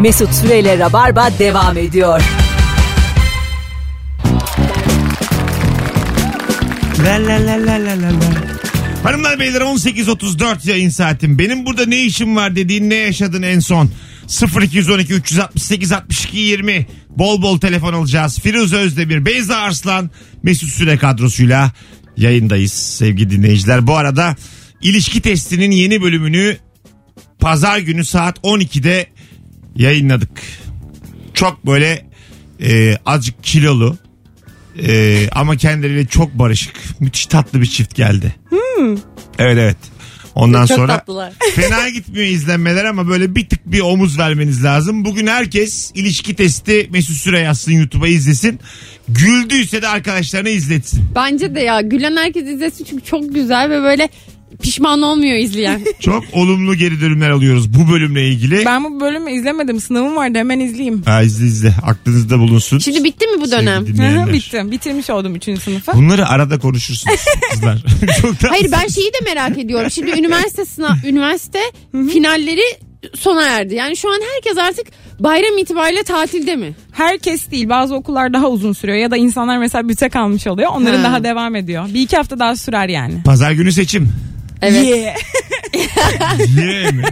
Speaker 1: Mesut Süreyle Rabarba devam ediyor.
Speaker 2: La la la la la la la. Hanımlar beyler 18.34 yayın saatim. Benim burada ne işim var dediğin ne yaşadın en son? 0212 368 62 20 bol bol telefon alacağız. Firuze Özdemir, Beyza Arslan, Mesut Süre kadrosuyla yayındayız sevgili dinleyiciler. Bu arada ilişki testinin yeni bölümünü pazar günü saat 12'de yayınladık. Çok böyle e, azıcık kilolu e, ama kendileriyle çok barışık. Müthiş tatlı bir çift geldi. Evet evet. Ondan
Speaker 3: Hmm. Çok
Speaker 2: sonra
Speaker 3: tatlılar.
Speaker 2: fena gitmiyor izlenmeler ama böyle bir tık bir omuz vermeniz lazım. Bugün herkes ilişki testi Mesut Süre yazsın YouTube'a izlesin. Güldüyse de arkadaşlarına izletsin.
Speaker 3: Bence de ya gülen herkes izlesin çünkü çok güzel ve böyle pişman olmuyor izleyen.
Speaker 2: Çok olumlu geri dönümler alıyoruz bu bölümle ilgili.
Speaker 4: Ben bu bölümü izlemedim. Sınavım vardı hemen izleyeyim.
Speaker 2: Ha, izle izle aklınızda bulunsun.
Speaker 3: Şimdi bitti mi bu dönem?
Speaker 2: Sevgili
Speaker 4: Hı
Speaker 2: dinleyenler.
Speaker 4: hı, Bittim. Bitirmiş oldum 3. sınıfı.
Speaker 2: Bunları arada konuşursunuz kızlar. Çok da-
Speaker 3: Hayır ben şey- şeyi de merak ediyorum. Şimdi üniversite sınav, üniversite finalleri sona erdi. Yani şu an herkes artık bayram itibariyle tatilde mi?
Speaker 4: Herkes değil. Bazı okullar daha uzun sürüyor ya da insanlar mesela büte kalmış oluyor. Onların
Speaker 3: Ha.
Speaker 4: daha devam ediyor. Bir iki hafta daha sürer yani.
Speaker 2: Pazar günü seçim.
Speaker 3: Evet.
Speaker 4: Yeah.
Speaker 2: Ye mi?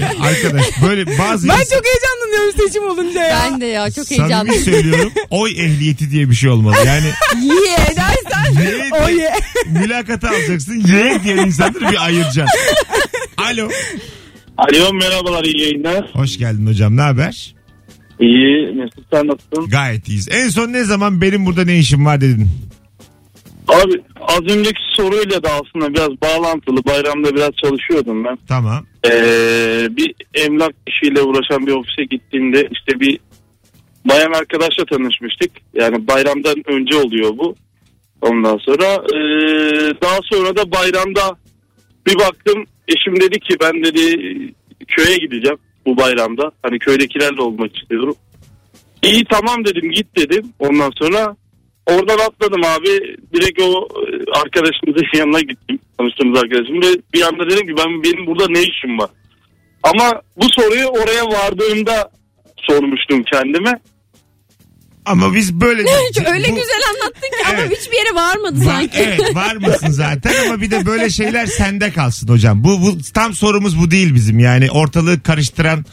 Speaker 2: Ya arkadaş böyle bazı
Speaker 4: Ben çok heyecanlanıyorum seçim olunca ya.
Speaker 3: Ben de ya çok
Speaker 2: Samimi
Speaker 3: heyecanlıyım.
Speaker 2: söylüyorum. Oy ehliyeti diye bir şey olmalı. Yani
Speaker 4: Yeah dersen.
Speaker 2: ye
Speaker 4: O
Speaker 2: diye-
Speaker 4: ye.
Speaker 2: mülakata alacaksın. Ye diye insanları bir ayıracaksın. Alo.
Speaker 5: Alo merhabalar iyi yayınlar.
Speaker 2: Hoş geldin hocam. Ne haber?
Speaker 5: İyi Mesut sen nasılsın?
Speaker 2: Gayet iyiyiz. En son ne zaman benim burada ne işim var dedin?
Speaker 5: Abi az önceki soruyla da aslında biraz bağlantılı. Bayramda biraz çalışıyordum ben.
Speaker 2: Tamam.
Speaker 5: Ee, bir emlak işiyle uğraşan bir ofise gittiğimde işte bir bayan arkadaşla tanışmıştık. Yani bayramdan önce oluyor bu. Ondan sonra ee, daha sonra da bayramda bir baktım eşim dedi ki ben dedi köye gideceğim bu bayramda. Hani köydekilerle olmak istiyorum. İyi tamam dedim git dedim. Ondan sonra oradan atladım abi. Direkt o e, arkadaşımızın yanına gittim. Tanıştığımız arkadaşım ve bir anda dedim ki ben benim burada ne işim var? Ama bu soruyu oraya vardığımda sormuştum kendime.
Speaker 2: Ama biz böyle...
Speaker 3: Öyle
Speaker 2: Bu-
Speaker 3: güzel anlattın ki ama
Speaker 2: Evet.
Speaker 3: hiçbir yere varmadı
Speaker 2: Var,
Speaker 3: sanki.
Speaker 2: evet var mısın zaten ama bir de böyle şeyler sende kalsın hocam. Bu, bu tam sorumuz bu değil bizim yani ortalığı karıştıran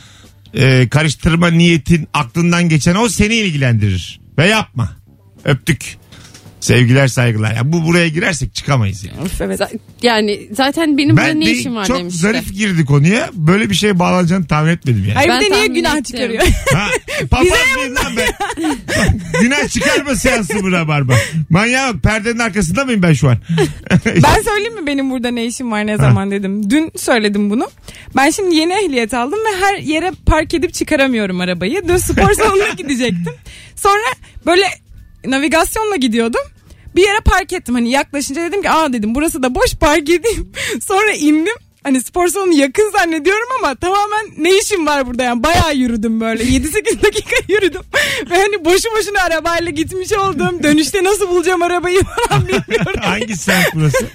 Speaker 2: e, karıştırma niyetin aklından geçen o seni ilgilendirir ve yapma öptük. Sevgiler saygılar. Ya bu buraya girersek çıkamayız yani.
Speaker 3: Za- Yani zaten benim burada
Speaker 2: Ben
Speaker 3: ne
Speaker 2: de
Speaker 3: işim var
Speaker 2: çok
Speaker 3: demişti.
Speaker 2: zarif girdi konuya. Böyle bir şeye bağlanacağını tahmin etmedim yani.
Speaker 4: Hayır
Speaker 3: Ben
Speaker 4: bir de niye
Speaker 3: tahmin
Speaker 4: günah
Speaker 3: ettim.
Speaker 4: çıkarıyor?
Speaker 2: Ha, papaz mıyım lan ben? Günah çıkarma seansı bu rabarba. Manyağa bak, perdenin arkasında mıyım ben şu an?
Speaker 4: Ben söyleyeyim mi benim burada ne işim var ne zaman dedim. Dün söyledim bunu. Ben şimdi yeni ehliyet aldım ve her yere park edip çıkaramıyorum arabayı. Dün spor salonuna gidecektim. Sonra böyle navigasyonla gidiyordum. Bir yere park ettim hani yaklaşınca dedim ki aa dedim burası da boş park edeyim. Sonra indim. Hani spor salonu yakın zannediyorum ama tamamen ne işim var burada yani bayağı yürüdüm böyle 7-8 dakika yürüdüm. Ve hani boşu boşuna arabayla gitmiş oldum. Dönüşte nasıl bulacağım arabayı falan bilmiyorum.
Speaker 2: Hangi semt burası?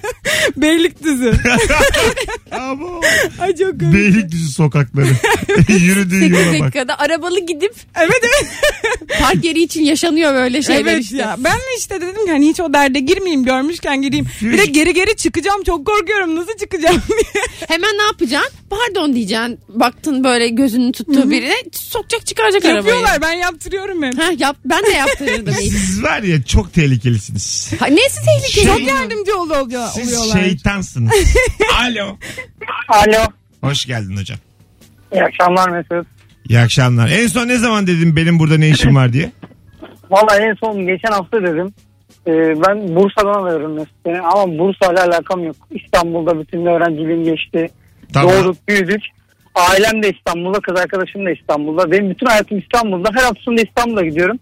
Speaker 4: Beylikdüzü.
Speaker 2: Abo.
Speaker 4: Ay çok komik.
Speaker 2: Beylikdüzü sokakları. Yürüdüğü
Speaker 3: 8
Speaker 2: yola bak.
Speaker 3: dakikada arabalı gidip
Speaker 4: evet evet.
Speaker 3: park yeri için yaşanıyor böyle şeyler
Speaker 4: evet
Speaker 3: işte.
Speaker 4: ya. Ben de işte dedim ki hani hiç o derde girmeyeyim görmüşken gireyim. Bir de
Speaker 2: Yürü.
Speaker 4: geri geri çıkacağım çok korkuyorum nasıl çıkacağım diye.
Speaker 3: Hemen ne yapacaksın? Pardon diyeceksin. Baktın böyle gözünü tuttuğu birine sokacak çıkaracak arabayı.
Speaker 4: Yapıyorlar ben yaptırıyorum hep.
Speaker 3: Ha, yap, ben de yaptırırdım.
Speaker 2: Siz var ya çok tehlikelisiniz.
Speaker 3: ha, nesi tehlikeli?
Speaker 2: Şey-
Speaker 4: Çok yardımcı oldu oluyor,
Speaker 2: Siz şey-
Speaker 4: oluyorlar.
Speaker 2: şeytansınız. Alo.
Speaker 6: Alo.
Speaker 2: Hoş geldin hocam.
Speaker 6: İyi akşamlar Mesut.
Speaker 2: İyi akşamlar. En son ne zaman dedim benim burada ne işim var diye?
Speaker 6: Valla en son geçen hafta dedim. Ee, ben Bursa'dan arıyorum Mesut beni ama Bursa'yla alakam yok. İstanbul'da bütün öğrenciliğim geçti.
Speaker 2: Tamam.
Speaker 6: Doğduk büyüdük. Ailem de İstanbul'da, kız arkadaşım da İstanbul'da. Benim bütün hayatım İstanbul'da. Her hafta sonunda İstanbul'a gidiyorum.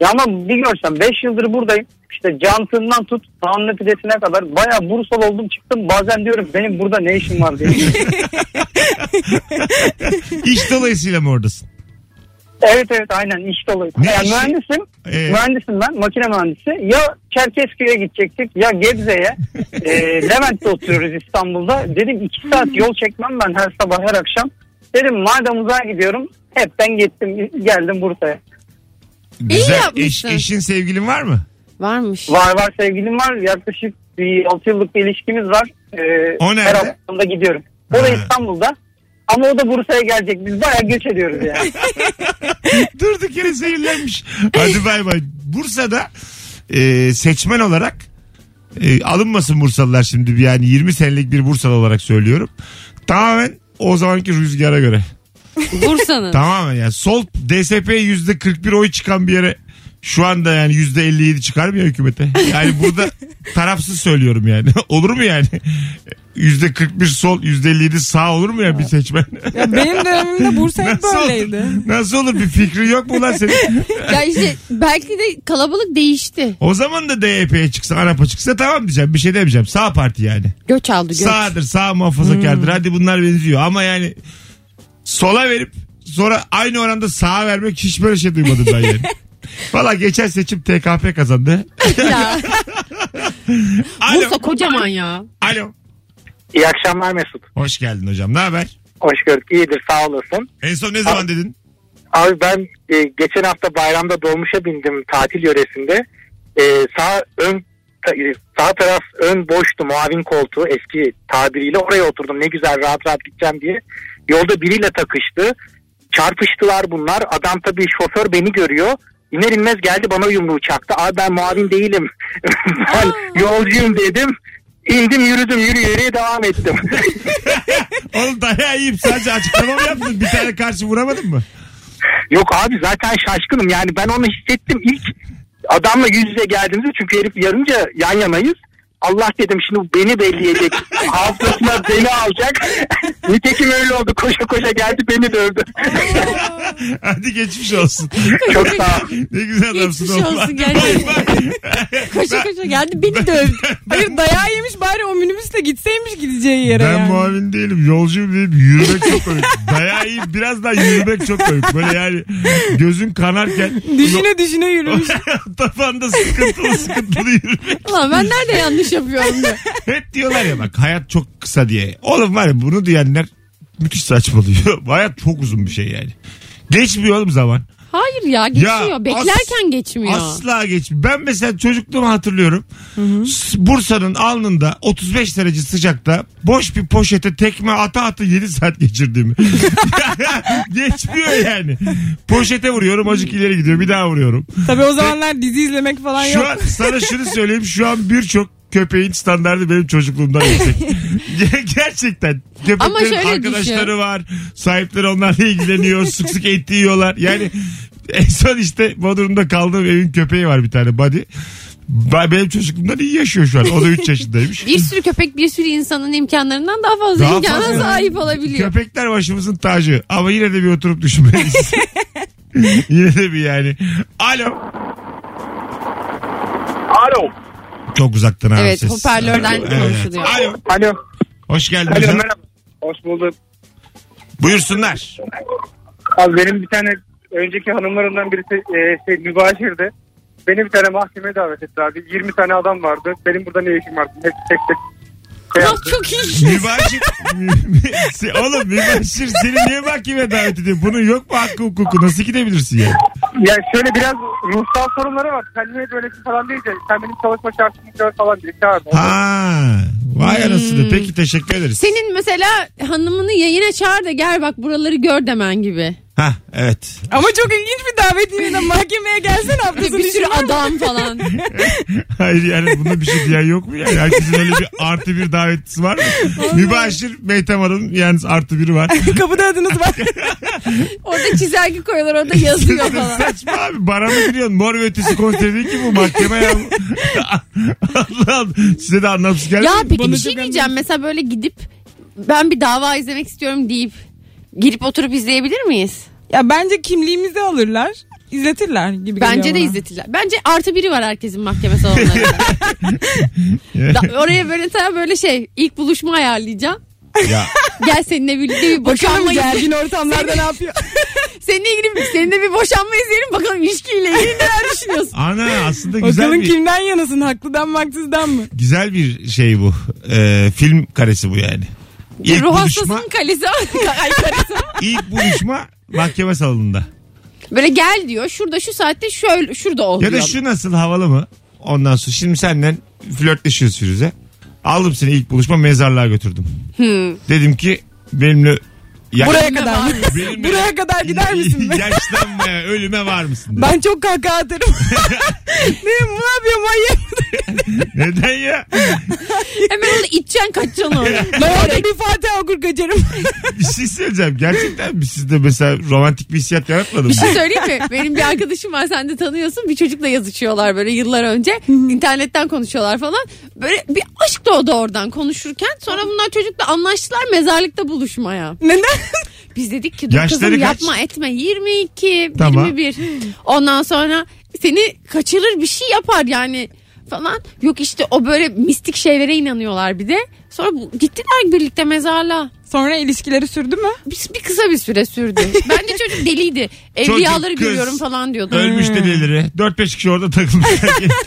Speaker 6: Ya ama bir görsen 5 yıldır buradayım. İşte cantından tut, tahammül pidesine kadar. Baya Bursalı oldum çıktım. Bazen diyorum benim burada ne işim var diye.
Speaker 2: İş dolayısıyla mı oradasın?
Speaker 6: Evet evet aynen iş dolu.
Speaker 2: Ne
Speaker 6: Yani
Speaker 2: işi?
Speaker 6: mühendisim.
Speaker 2: Ee?
Speaker 6: Mühendisim ben. Makine mühendisi. Ya Çerkezköy'e gidecektik ya Gebze'ye. Ee, Levent'te oturuyoruz İstanbul'da. Dedim iki saat yol çekmem ben her sabah her akşam. Dedim madem uzağa gidiyorum hepten gittim geldim Bursa'ya.
Speaker 2: Eş,
Speaker 3: yapmışsın.
Speaker 2: eşin sevgilin var mı?
Speaker 3: Varmış.
Speaker 6: Var var sevgilim var. Yaklaşık bir 6 yıllık bir ilişkimiz var. Ee,
Speaker 2: O nerede?
Speaker 6: Her haftamda gidiyorum. O da
Speaker 2: Ha.
Speaker 6: İstanbul'da. Ama o da Bursa'ya gelecek. Biz bayağı göç ediyoruz yani.
Speaker 2: Durduk yere zehirlenmiş. Hadi bay bay. Bursa'da e, seçmen olarak e, alınmasın Bursalılar şimdi yani 20 senelik bir Bursalı olarak söylüyorum. Tamamen o zamanki rüzgara göre.
Speaker 3: Bursa'nın.
Speaker 2: Tamamen yani sol DSP yüzde 41 oy çıkan bir yere şu anda yani yüzde 57 çıkar mı ya hükümete? Yani burada tarafsız söylüyorum yani. olur mu yani? Yüzde 41 sol yüzde 57 sağ olur mu ya bir seçmen?
Speaker 4: Ya benim dönemimde Bursa hep
Speaker 2: Nasıl
Speaker 4: böyleydi.
Speaker 2: olur? Nasıl olur bir fikri yok mu lan senin?
Speaker 3: ya işte belki de kalabalık değişti.
Speaker 2: O zaman da DYP'ye çıksa, ANAP'a çıksa tamam diyeceğim. Bir şey demeyeceğim. Sağ parti yani.
Speaker 3: Göç aldı göç.
Speaker 2: Sağdır, sağ muhafazakardır.
Speaker 3: Hmm.
Speaker 2: Hadi bunlar benziyor. Ama yani sola verip sonra aynı oranda sağa vermek hiç böyle şey duymadım ben yani. Valla geçen seçim TKP kazandı.
Speaker 3: Ya,
Speaker 2: Alo.
Speaker 3: Bursa kocaman ya.
Speaker 2: Alo.
Speaker 7: İyi akşamlar Mesut.
Speaker 2: Hoş geldin hocam. Ne haber?
Speaker 7: Hoş gördük. İyidir sağ olasın.
Speaker 2: En son ne zaman dedin?
Speaker 7: Abi ben e, geçen hafta bayramda dolmuşa bindim tatil yöresinde. E, sağ ön ta- e, sağ taraf ön boştu muavin koltuğu eski tabiriyle oraya oturdum ne güzel rahat rahat gideceğim diye. Yolda biriyle takıştı. Çarpıştılar bunlar. Adam tabii şoför beni görüyor. İner inmez geldi bana yumruğu çaktı. Abi ben muavin değilim. ben yolcuyum dedim. İndim yürüdüm yürü yürüye devam ettim.
Speaker 2: Oğlum dayağı yiyip sadece açıklama mı yaptın? Bir tane karşı vuramadın mı?
Speaker 7: Yok abi zaten şaşkınım yani ben onu hissettim ilk adamla yüz yüze geldiğimizde çünkü herif yarınca yan yanayız. Allah dedim şimdi bu beni belleyecek. Haftasına beni alacak. Nitekim öyle oldu. Koşa koşa geldi beni dövdü.
Speaker 2: Hadi geçmiş olsun.
Speaker 7: Çok sağ ol.
Speaker 2: ne güzel adamsın
Speaker 3: Geçmiş
Speaker 2: oğlum.
Speaker 3: olsun gerçekten. koşa koşa geldi beni dövdü.
Speaker 4: Hayır dayağı yemiş bari o minibüsle gitseymiş gideceği yere
Speaker 2: Ben
Speaker 4: yani.
Speaker 2: muavin değilim yolcuyum deyip yürümek çok komik. Dayağı yiyip biraz daha yürümek çok komik. Böyle yani gözün kanarken
Speaker 4: Düşüne düşüne yürümüş.
Speaker 2: tafanda sıkıntılı sıkıntılı yürümek.
Speaker 3: Ulan ben nerede yanlış yapıyorum diye.
Speaker 2: Hep diyorlar ya bak hayat çok kısa diye. Oğlum var ya bunu diyenler müthiş saçmalıyor. hayat çok uzun bir şey yani. Geçmiyor oğlum zaman.
Speaker 3: Hayır ya geçmiyor.
Speaker 2: Ya,
Speaker 3: Beklerken
Speaker 2: as-
Speaker 3: geçmiyor.
Speaker 2: Asla geçmiyor. Ben mesela çocukluğumu hatırlıyorum. S- Bursa'nın alnında 35 derece sıcakta boş bir poşete tekme ata ata 7 saat geçirdiğimi. geçmiyor yani. Poşete vuruyorum acık ileri gidiyor bir daha vuruyorum.
Speaker 4: Tabii o zamanlar dizi izlemek falan
Speaker 2: Şu
Speaker 4: yok.
Speaker 2: an sana şunu söyleyeyim şu an birçok köpeğin standardı benim çocukluğumdan yüksek. Ger- Gerçekten.
Speaker 3: Ama
Speaker 2: Köpeklerin
Speaker 3: şöyle
Speaker 2: arkadaşları
Speaker 3: düşün.
Speaker 2: var. Sahipleri onlarla ilgileniyor. sık sık et yiyorlar. Yani en son işte Bodrum'da kaldığım evin köpeği var bir tane Buddy. Ba- Benim çocukluğumdan iyi yaşıyor şu an. O da 3 yaşındaymış.
Speaker 3: Bir sürü köpek bir sürü insanın imkanlarından daha fazla
Speaker 2: Daha
Speaker 3: imkana
Speaker 2: fazla.
Speaker 3: sahip olabiliyor.
Speaker 2: Köpekler başımızın tacı. Ama yine de bir oturup düşünmeliyiz. yine de bir yani. Alo.
Speaker 5: Alo.
Speaker 2: Çok uzaktan abi
Speaker 3: Evet,
Speaker 2: ses.
Speaker 3: hoparlörden konuşuluyor.
Speaker 2: Alo.
Speaker 7: Alo.
Speaker 2: Hoş geldin.
Speaker 7: Alo
Speaker 2: hocam.
Speaker 7: merhaba.
Speaker 5: Hoş bulduk.
Speaker 2: Buyursunlar.
Speaker 7: Abi benim bir tane önceki hanımlarımdan birisi e, şey, mübaşirdi. Beni bir tane mahkemeye davet etti abi. 20 tane adam vardı. Benim burada ne işim var? Hep tek tek.
Speaker 3: Bak
Speaker 7: şey yaptı.
Speaker 3: çok iyi.
Speaker 2: Mübaşir. Se- Oğlum Mübaşir seni niye mahkemeye davet ediyor? Bunun yok mu hakkı hukuku? Nasıl gidebilirsin yani?
Speaker 7: Yani şöyle biraz ruhsal sorunları var. Sen niye böylesin falan deyince sen benim çalışma şartımı gör falan diye çağırdı.
Speaker 2: Ha,
Speaker 3: Hmm.
Speaker 2: vay anasını. Peki teşekkür ederiz.
Speaker 3: Senin mesela hanımını yayına çağır da gel bak buraları gör demen gibi.
Speaker 2: Ha, evet.
Speaker 4: Ama çok ilginç bir davet yine de mahkemeye gelsen haftasını
Speaker 3: Bir sürü
Speaker 4: düşünür müsün?
Speaker 3: adam falan.
Speaker 2: Hayır yani bunda bir şey diyen yok mu yani? Herkesin öyle bir artı bir davetçisi var mı? Mübaşir Meytem Hanım yalnız artı biri var.
Speaker 4: Kapıda adınız var.
Speaker 3: Orada çizelge koyuyorlar orada yazıyor falan.
Speaker 2: Saçma abi. Bara mı giriyorsun? Mor ve ötesi konseri değil ki bu mahkeme ya. Allah Allah. Size de anlamsız geldi.
Speaker 3: Ya
Speaker 2: mi?
Speaker 3: peki
Speaker 2: Bana
Speaker 3: bir
Speaker 2: çok
Speaker 3: şey diyeceğim. Mesela böyle gidip ben bir dava izlemek istiyorum deyip girip oturup izleyebilir miyiz?
Speaker 4: ya bence kimliğimizi alırlar. izletirler gibi geliyor
Speaker 3: Bence de
Speaker 4: bana.
Speaker 3: izletirler. Bence artı biri var herkesin mahkeme salonlarında. Da- Oraya böyle tam böyle şey ilk buluşma ayarlayacağım.
Speaker 2: Ya.
Speaker 3: Gel seninle birlikte bir
Speaker 4: Bakalım
Speaker 3: boşanma
Speaker 4: gergin ortamlarda ne yapıyor?
Speaker 3: Seninle ilgili bir- seninle bir boşanma izleyelim bakalım ilişkiyle ilgili neler düşünüyorsun.
Speaker 2: Ana aslında güzel
Speaker 4: Bakalım
Speaker 2: bir,
Speaker 4: kimden yanasın haklıdan mı haksızdan mı?
Speaker 2: güzel bir şey bu. Ee, film karesi bu yani. İlk
Speaker 3: Ruh
Speaker 2: buluşma,
Speaker 3: hastasının kalesi. Ay, karısı.
Speaker 2: ilk buluşma mahkeme salonunda.
Speaker 3: Böyle gel diyor. Şurada şu saatte şöyle şurada ol
Speaker 2: Ya da
Speaker 3: diyor.
Speaker 2: şu nasıl havalı mı? Ondan sonra şimdi senden flörtleşiyoruz Firuze. Aldım seni ilk buluşma mezarlığa götürdüm. Dedim ki benimle ya-
Speaker 4: Hmm. Buraya kadar. mı?
Speaker 2: benimle-
Speaker 4: Buraya kadar gider misin? be?
Speaker 2: Yaşlanmaya ölüme var mısın? dedim.
Speaker 4: Ben çok kahkaha atarım. ne, ne yapıyorum manyak?
Speaker 2: Neden ya?
Speaker 3: Hemen onu içeceksin kaçacaksın orada.
Speaker 4: Normalde bir Fatih okur kaçarım.
Speaker 2: Bir şey söyleyeceğim. Gerçekten mi sizde mesela romantik bir hissiyat yaratmadı mı?
Speaker 3: Bir şey söyleyeyim mi? Benim bir arkadaşım var sen de tanıyorsun. Bir çocukla yazışıyorlar böyle yıllar önce. internetten konuşuyorlar falan. Böyle bir aşk doğdu oradan konuşurken. Sonra bunlar çocukla anlaştılar mezarlıkta buluşmaya.
Speaker 4: Neden?
Speaker 3: Biz dedik ki dur
Speaker 2: Yaşları
Speaker 3: kızım
Speaker 2: kaç?
Speaker 3: yapma etme 22,
Speaker 2: Tamam.
Speaker 3: 21. Ondan sonra seni kaçırır bir şey yapar yani falan. Yok işte o böyle mistik şeylere inanıyorlar bir de. Sonra bu- gittiler birlikte mezarlığa.
Speaker 4: Sonra ilişkileri sürdü mü?
Speaker 3: Bir, bir kısa bir süre sürdü. Bence çocuk deliydi. Evliyaları
Speaker 2: kız.
Speaker 3: görüyorum falan diyordu.
Speaker 2: Ölmüş dedeleri. 4-5 kişi orada takılmış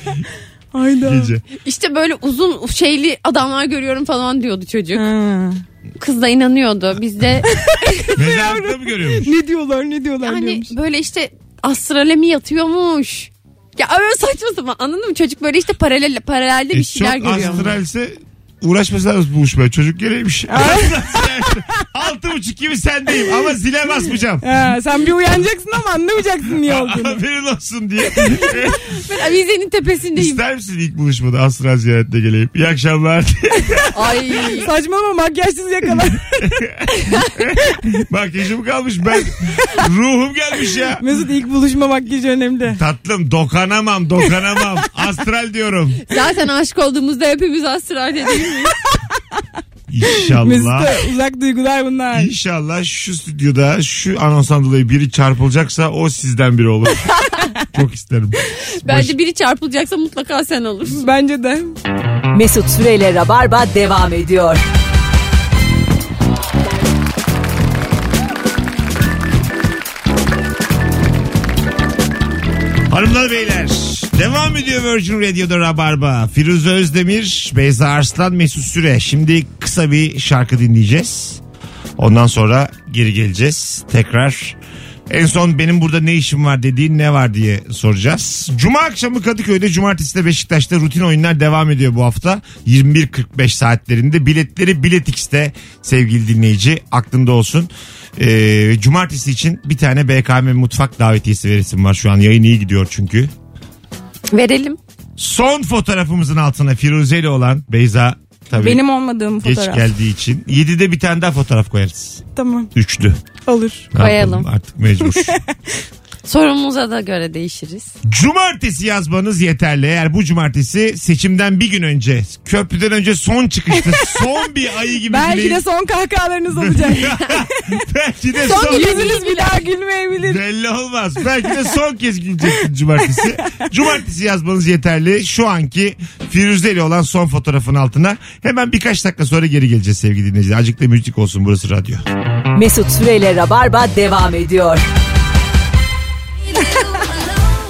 Speaker 4: Hayda.
Speaker 2: gece.
Speaker 3: İşte böyle uzun şeyli adamlar görüyorum falan diyordu çocuk.
Speaker 4: Ha.
Speaker 3: Kız da inanıyordu. Biz de
Speaker 2: Mezarlıkta mı görüyormuş?
Speaker 4: Ne diyorlar ne diyorlar
Speaker 3: hani
Speaker 4: diyormuş.
Speaker 3: böyle işte astralemi yatıyormuş. Ya öyle saçma sapan anladın mı? Çocuk böyle işte paralel paralelde
Speaker 2: E,
Speaker 3: bir şeyler
Speaker 2: çok
Speaker 3: görüyor.
Speaker 2: astralse uğraşmasanız buluşmaya. Çocuk geleymiş. Altı buçuk gibi sendeyim ama zile basmayacağım.
Speaker 4: Ha, sen bir uyanacaksın ama anlamayacaksın niye olduğunu.
Speaker 2: Aferin olsun diye.
Speaker 3: Ben avizenin tepesindeyim.
Speaker 2: İster misin ilk buluşmada astral ziyaretine geleyim? İyi akşamlar.
Speaker 3: Ay.
Speaker 4: Saçmalama makyajsız yakalar.
Speaker 2: Makyajım kalmış ben. Ruhum gelmiş ya.
Speaker 4: Mesut ilk buluşma makyajı önemli.
Speaker 2: Tatlım dokanamam dokanamam. Astral diyorum.
Speaker 3: Zaten aşık olduğumuzda hepimiz astral değil mi?
Speaker 2: İnşallah.
Speaker 4: Mesut'a uzak duygular bunlar.
Speaker 2: İnşallah şu stüdyoda şu anonsdan dolayı biri çarpılacaksa o sizden biri olur. Çok isterim. Baş-
Speaker 3: Bence biri çarpılacaksa mutlaka sen olursun.
Speaker 4: Bence de.
Speaker 1: Mesut Süreyle Rabarba devam ediyor.
Speaker 2: Hanımlar beyler devam ediyor Virgin Radio'da Rabarba. Firuze Özdemir, Beyza Arslan, Mesut Süre. Şimdi kısa bir şarkı dinleyeceğiz. Ondan sonra geri geleceğiz tekrar. En son benim burada ne işim var dediğin ne var diye soracağız. Cuma akşamı Kadıköy'de, cumartesi de Beşiktaş'ta rutin oyunlar devam ediyor bu hafta. 21.45 saatlerinde biletleri Biletix'te sevgili dinleyici aklında olsun. Ee, cumartesi için bir tane BKM mutfak davetiyesi veresim var şu an. Yayın iyi gidiyor çünkü.
Speaker 3: Verelim.
Speaker 2: Son fotoğrafımızın altına Firuze ile olan Beyza tabii
Speaker 4: Benim olmadığım
Speaker 2: geç
Speaker 4: fotoğraf.
Speaker 2: geldiği için. 7'de bir tane daha fotoğraf koyarız.
Speaker 4: Tamam
Speaker 2: Üçlü.
Speaker 4: olur.
Speaker 2: Ne yapalım?
Speaker 3: Koyalım.
Speaker 2: Artık mecbur.
Speaker 3: Sorumuza da göre değişiriz.
Speaker 2: cumartesi yazmanız yeterli. Eğer bu cumartesi seçimden bir gün önce köprüden önce son çıkışta son bir ayı gibi
Speaker 4: Belki de
Speaker 2: dileyin.
Speaker 4: son kahkahalarınız olacak.
Speaker 2: Belki de
Speaker 3: Son
Speaker 2: son,
Speaker 4: Yüzünüz bir daha gülmeyebilir.
Speaker 2: Belli olmaz. Belki de son kez güleceksin cumartesi. cumartesi yazmanız yeterli. Şu anki Firuze ile olan son fotoğrafın altına. Hemen birkaç dakika sonra geri geleceğiz sevgili dinleyiciler. Azıcık da müzik olsun burası radyo.
Speaker 1: Mesut Süreyle Rabarba devam ediyor.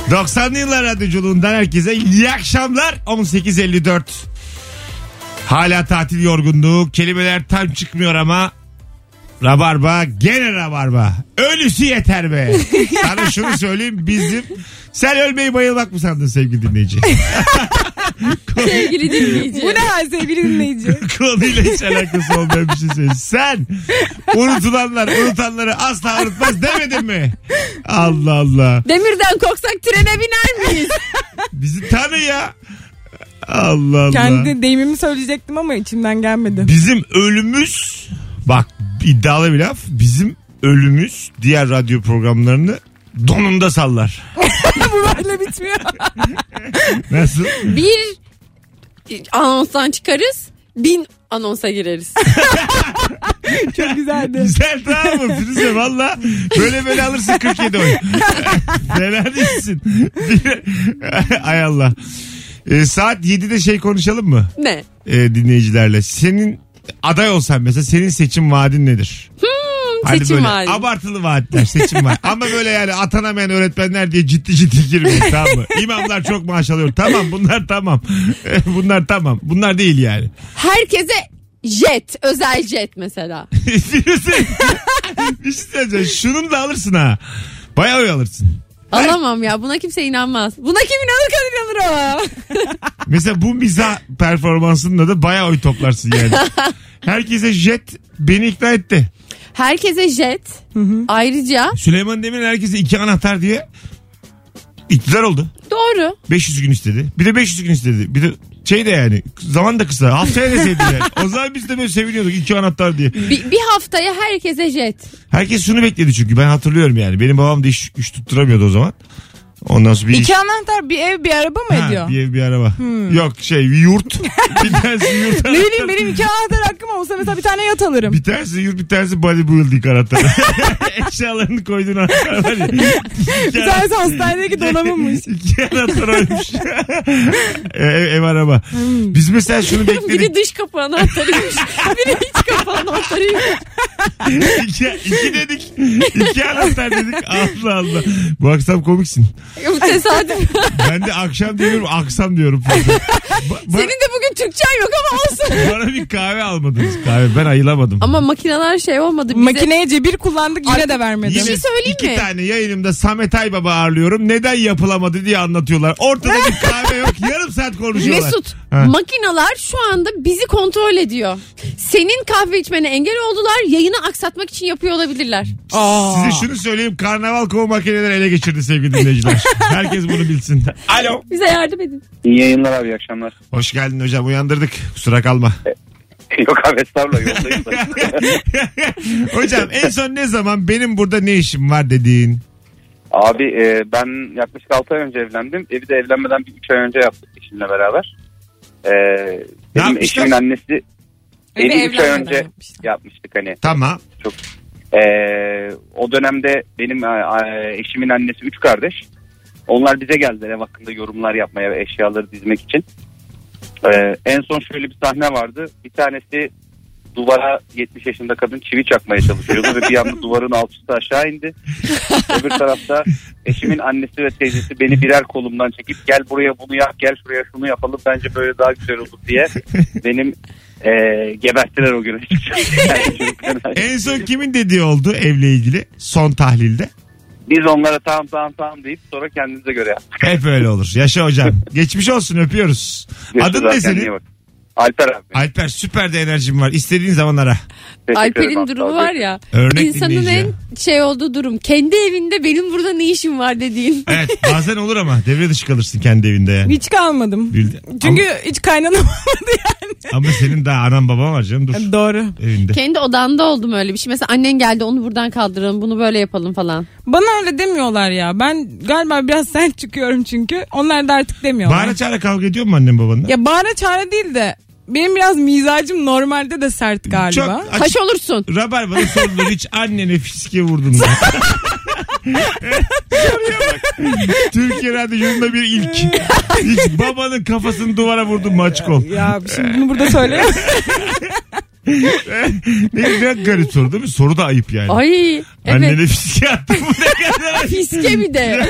Speaker 2: 90'lı yıllar radyoculuğundan herkese iyi akşamlar. 18.54. Hala tatil yorgunluğu. Kelimeler tam çıkmıyor ama Rabarba gene rabarba. Ölüsü yeter be. Sana şunu söyleyeyim bizim. Sen ölmeyi bayılmak mı sandın sevgili dinleyici?
Speaker 3: Sevgili dinleyici.
Speaker 4: Bu ne hal sevgili dinleyici?
Speaker 2: Konuyla hiç alakası olmayan bir şey söylüyorsun. Sen unutulanlar unutanları asla unutmaz demedin mi? Allah Allah.
Speaker 3: Demirden korksak trene biner miyiz?
Speaker 2: Bizi tanı ya. Allah Allah.
Speaker 4: Kendi deyimimi söyleyecektim ama içimden gelmedi.
Speaker 2: Bizim ölümüz bak iddialı bir laf bizim ölümüz diğer radyo programlarını donunda sallar.
Speaker 4: Bu böyle bitmiyor.
Speaker 2: Nasıl?
Speaker 3: Bir anonstan çıkarız. Bin anonsa gireriz.
Speaker 4: Çok güzeldi.
Speaker 2: Güzel tamam mı Firuze valla böyle böyle alırsın 47 oy. Neler değilsin. Ay Allah. Ee, saat 7'de şey konuşalım mı e,
Speaker 3: ne?
Speaker 2: Ee, dinleyicilerle? Senin aday olsan mesela senin seçim vaadin nedir? Hani
Speaker 3: Seçim
Speaker 2: böyle
Speaker 3: vaadi.
Speaker 2: abartılı vaatler seçim var. Ama böyle yani atanamayan öğretmenler diye ciddi ciddi girmeyin tamam mı? İmamlar çok maaş alıyor. Tamam bunlar tamam. Eh, bunlar tamam. Bunlar değil yani.
Speaker 3: Herkese jet, özel jet mesela.
Speaker 2: Birisi- bir şey söyleyeceğim. Şunun da alırsın ha. Bayağı oy alırsın.
Speaker 3: Alamam ya buna kimse inanmaz. Buna kim inanır kadın inanır o.
Speaker 2: Mesela bu miza performansında da bayağı oy toplarsın yani. Herkese jet beni ikna etti.
Speaker 3: Herkese jet. Ayrıca
Speaker 2: Süleyman Demirel herkese iki anahtar diye iktidar oldu.
Speaker 3: doğru.
Speaker 2: 500 gün istedi. Bir de 500 gün istedi. Bir de şey de yani zaman da kısa. Haftaya deseydi yani. O zaman biz de böyle seviniyorduk iki anahtar diye.
Speaker 3: Bir, bir haftaya herkese jet.
Speaker 2: Herkes şunu bekledi çünkü ben hatırlıyorum yani. Benim babam da iş güç tutturamıyordu o zaman. Ondan sonra bir iş-
Speaker 4: İki anahtar bir ev bir araba mı
Speaker 2: Ha,
Speaker 4: ediyor?
Speaker 2: Bir ev bir araba. Yok şey bir yurt. bir tanesi yurt.
Speaker 4: Ne bileyim benim iki anahtar hakkım olsa mesela bir tane yat alırım.
Speaker 2: Bir tanesi yurt bir tanesi bodybuilding anahtarı. Eşyalarını koyduğun anahtar var ya. İki
Speaker 4: Bir tanesi hastanedeki donanımmış.
Speaker 2: İki anahtar oymuş. ev, ev araba.
Speaker 4: Hmm.
Speaker 2: Biz mesela şunu bekledik.
Speaker 3: Biri dış kapı anahtarıymış. biri iç kapı anahtarıymış.
Speaker 2: iki, iki dedik. İki anahtar dedik. Allah Allah. Bu akşam komiksin.
Speaker 3: Bu tesadüf.
Speaker 2: Ben de akşam diyorum aksam diyorum. Ba- ba-
Speaker 3: Senin de bugün Türkçen yok ama olsun.
Speaker 2: bana bir kahve almadınız. Kahve ben ayılamadım.
Speaker 3: ama makineler şey olmadı. Bize...
Speaker 4: Makineye cebir kullandık yine de vermedi.
Speaker 2: Yine
Speaker 3: şey söyleyeyim
Speaker 2: iki
Speaker 3: mi?
Speaker 2: tane yayınımda Samet Aybaba ağırlıyorum. Neden yapılamadı diye anlatıyorlar. Ortada bir kahve yok. Yarım saat konuşuyorlar.
Speaker 3: Mesut
Speaker 2: Ha.
Speaker 3: makineler şu anda bizi kontrol ediyor. Senin kahve içmene engel oldular. Yayını aksatmak için yapıyor olabilirler.
Speaker 4: Aa.
Speaker 2: Size şunu söyleyeyim. Karnaval kovu makineleri ele geçirdi sevgili dinleyiciler. Herkes bunu bilsin. Alo.
Speaker 3: Bize yardım edin.
Speaker 7: İyi yayınlar abi iyi akşamlar.
Speaker 2: Hoş geldin hocam. Uyandırdık. Kusura kalma.
Speaker 7: Yok abi estağfurullah yoldayım. da.
Speaker 2: hocam en son ne zaman benim burada ne işim var dediğin?
Speaker 7: abi e, ben yaklaşık 6 ay önce evlendim. Evi de evlenmeden bir 3 ay önce yaptık eşimle beraber. E, benim
Speaker 2: yapmışlar?
Speaker 7: eşimin annesi
Speaker 4: Evi
Speaker 7: evi 3 ay
Speaker 4: evlenmeden
Speaker 7: önce
Speaker 4: yapmışlar.
Speaker 7: yapmıştık hani.
Speaker 2: Tamam.
Speaker 7: Ee, o dönemde benim e, e, eşimin annesi üç kardeş. Onlar bize geldiler ev hakkında yorumlar yapmaya ve eşyaları dizmek için. Ee, en son şöyle bir sahne vardı. Bir tanesi duvara 70 yaşında kadın çivi çakmaya çalışıyordu ve bir anda duvarın altısı aşağı indi. Öbür tarafta eşimin annesi ve teyzesi beni birer kolumdan çekip gel buraya bunu yap gel şuraya şunu yapalım bence böyle daha güzel olur diye benim e, geberttiler o gün. Yani çocuklar-
Speaker 2: En son kimin dediği oldu evle ilgili son tahlilde?
Speaker 7: Biz onlara tamam tamam tamam deyip sonra kendinize göre yaptık.
Speaker 2: Hep öyle olur. Yaşa hocam. Geçmiş olsun öpüyoruz. Adın ne
Speaker 7: Görüşürüz abi, kendine iyi
Speaker 2: senin?
Speaker 7: bak. Alper abi.
Speaker 2: Alper süper de enerjim var. İstediğin zaman ara.
Speaker 7: Teşekkür ederim
Speaker 3: Alper'in
Speaker 7: abi.
Speaker 3: durumu var ya.
Speaker 2: Örnek
Speaker 3: insanın
Speaker 2: dinleyici
Speaker 3: en şey olduğu durum. Kendi evinde benim burada ne işim var dediğin.
Speaker 2: Evet bazen olur ama devre dışı kalırsın kendi evinde yani.
Speaker 4: Hiç kalmadım.
Speaker 2: Bildi-
Speaker 4: Çünkü hiç kaynanamadı yani.
Speaker 2: Ama senin daha anan baban var canım dur.
Speaker 4: Doğru.
Speaker 2: Evinde.
Speaker 3: Kendi odanda oldum öyle bir şey. Mesela annen geldi onu buradan kaldıralım bunu böyle yapalım falan.
Speaker 4: Bana öyle demiyorlar ya. Ben galiba biraz sen çıkıyorum çünkü. Onlar da artık demiyorlar.
Speaker 2: Bağıra çağıra kavga ediyor mu annen babanla?
Speaker 4: Ya bağıra çağıra değil de benim biraz mizacım normalde de sert galiba.
Speaker 2: Çok
Speaker 3: Kaş olursun.
Speaker 2: Rabarba'da sorulur hiç annene fiske vurdun mu? Soruya bak. Türkiye Radyosu'nda bir ilk. Hiç babanın kafasını duvara vurdun mu açık ol.
Speaker 4: Ya şimdi bunu burada söyleyemem.
Speaker 2: Ne güzel garip soru değil mi? Soru da ayıp yani.
Speaker 3: Ay evet.
Speaker 2: Annene fiske attın mı ne kadar?
Speaker 3: Fiske bir de.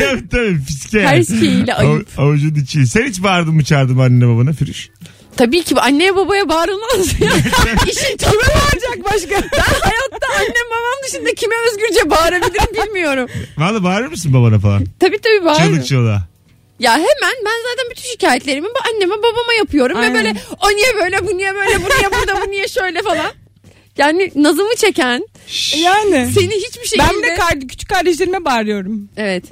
Speaker 2: tabii tabii fiske.
Speaker 3: Her şeyiyle ayıp.
Speaker 2: Av- avucun içi. Sen hiç bağırdın mı çağırdın mı annene babana Firuş?
Speaker 3: Tabii ki anneye babaya bağırılmaz ya. İşin kime bağıracak başka? Ben hayatta annem babam dışında kime özgürce bağırabilirim bilmiyorum.
Speaker 2: Valla bağırır mısın babana falan?
Speaker 3: Tabii tabii bağırırım.
Speaker 2: Çığlık çığlığa.
Speaker 3: Ya hemen ben zaten bütün şikayetlerimi bu anneme babama yapıyorum
Speaker 4: Aynen.
Speaker 3: ve böyle o niye böyle bu niye böyle bu niye burada bu niye şöyle falan. Yani nazımı çeken
Speaker 4: Yani.
Speaker 3: seni hiçbir şekilde...
Speaker 4: Ben bir de kar- küçük kardeşlerime bağırıyorum.
Speaker 3: Evet.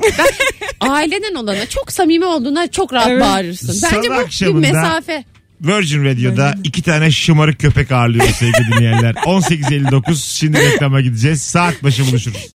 Speaker 3: Ben aileden olana çok samimi olduğuna çok rahat
Speaker 4: Evet.
Speaker 3: bağırırsın. Bence
Speaker 2: Salı
Speaker 3: bu
Speaker 2: akşamında-
Speaker 3: bir mesafe.
Speaker 2: Virgin Radio'da iki tane şımarık köpek ağırlıyor sevgili dinleyenler. 18.59 şimdi reklama gideceğiz. Saat başı buluşuruz.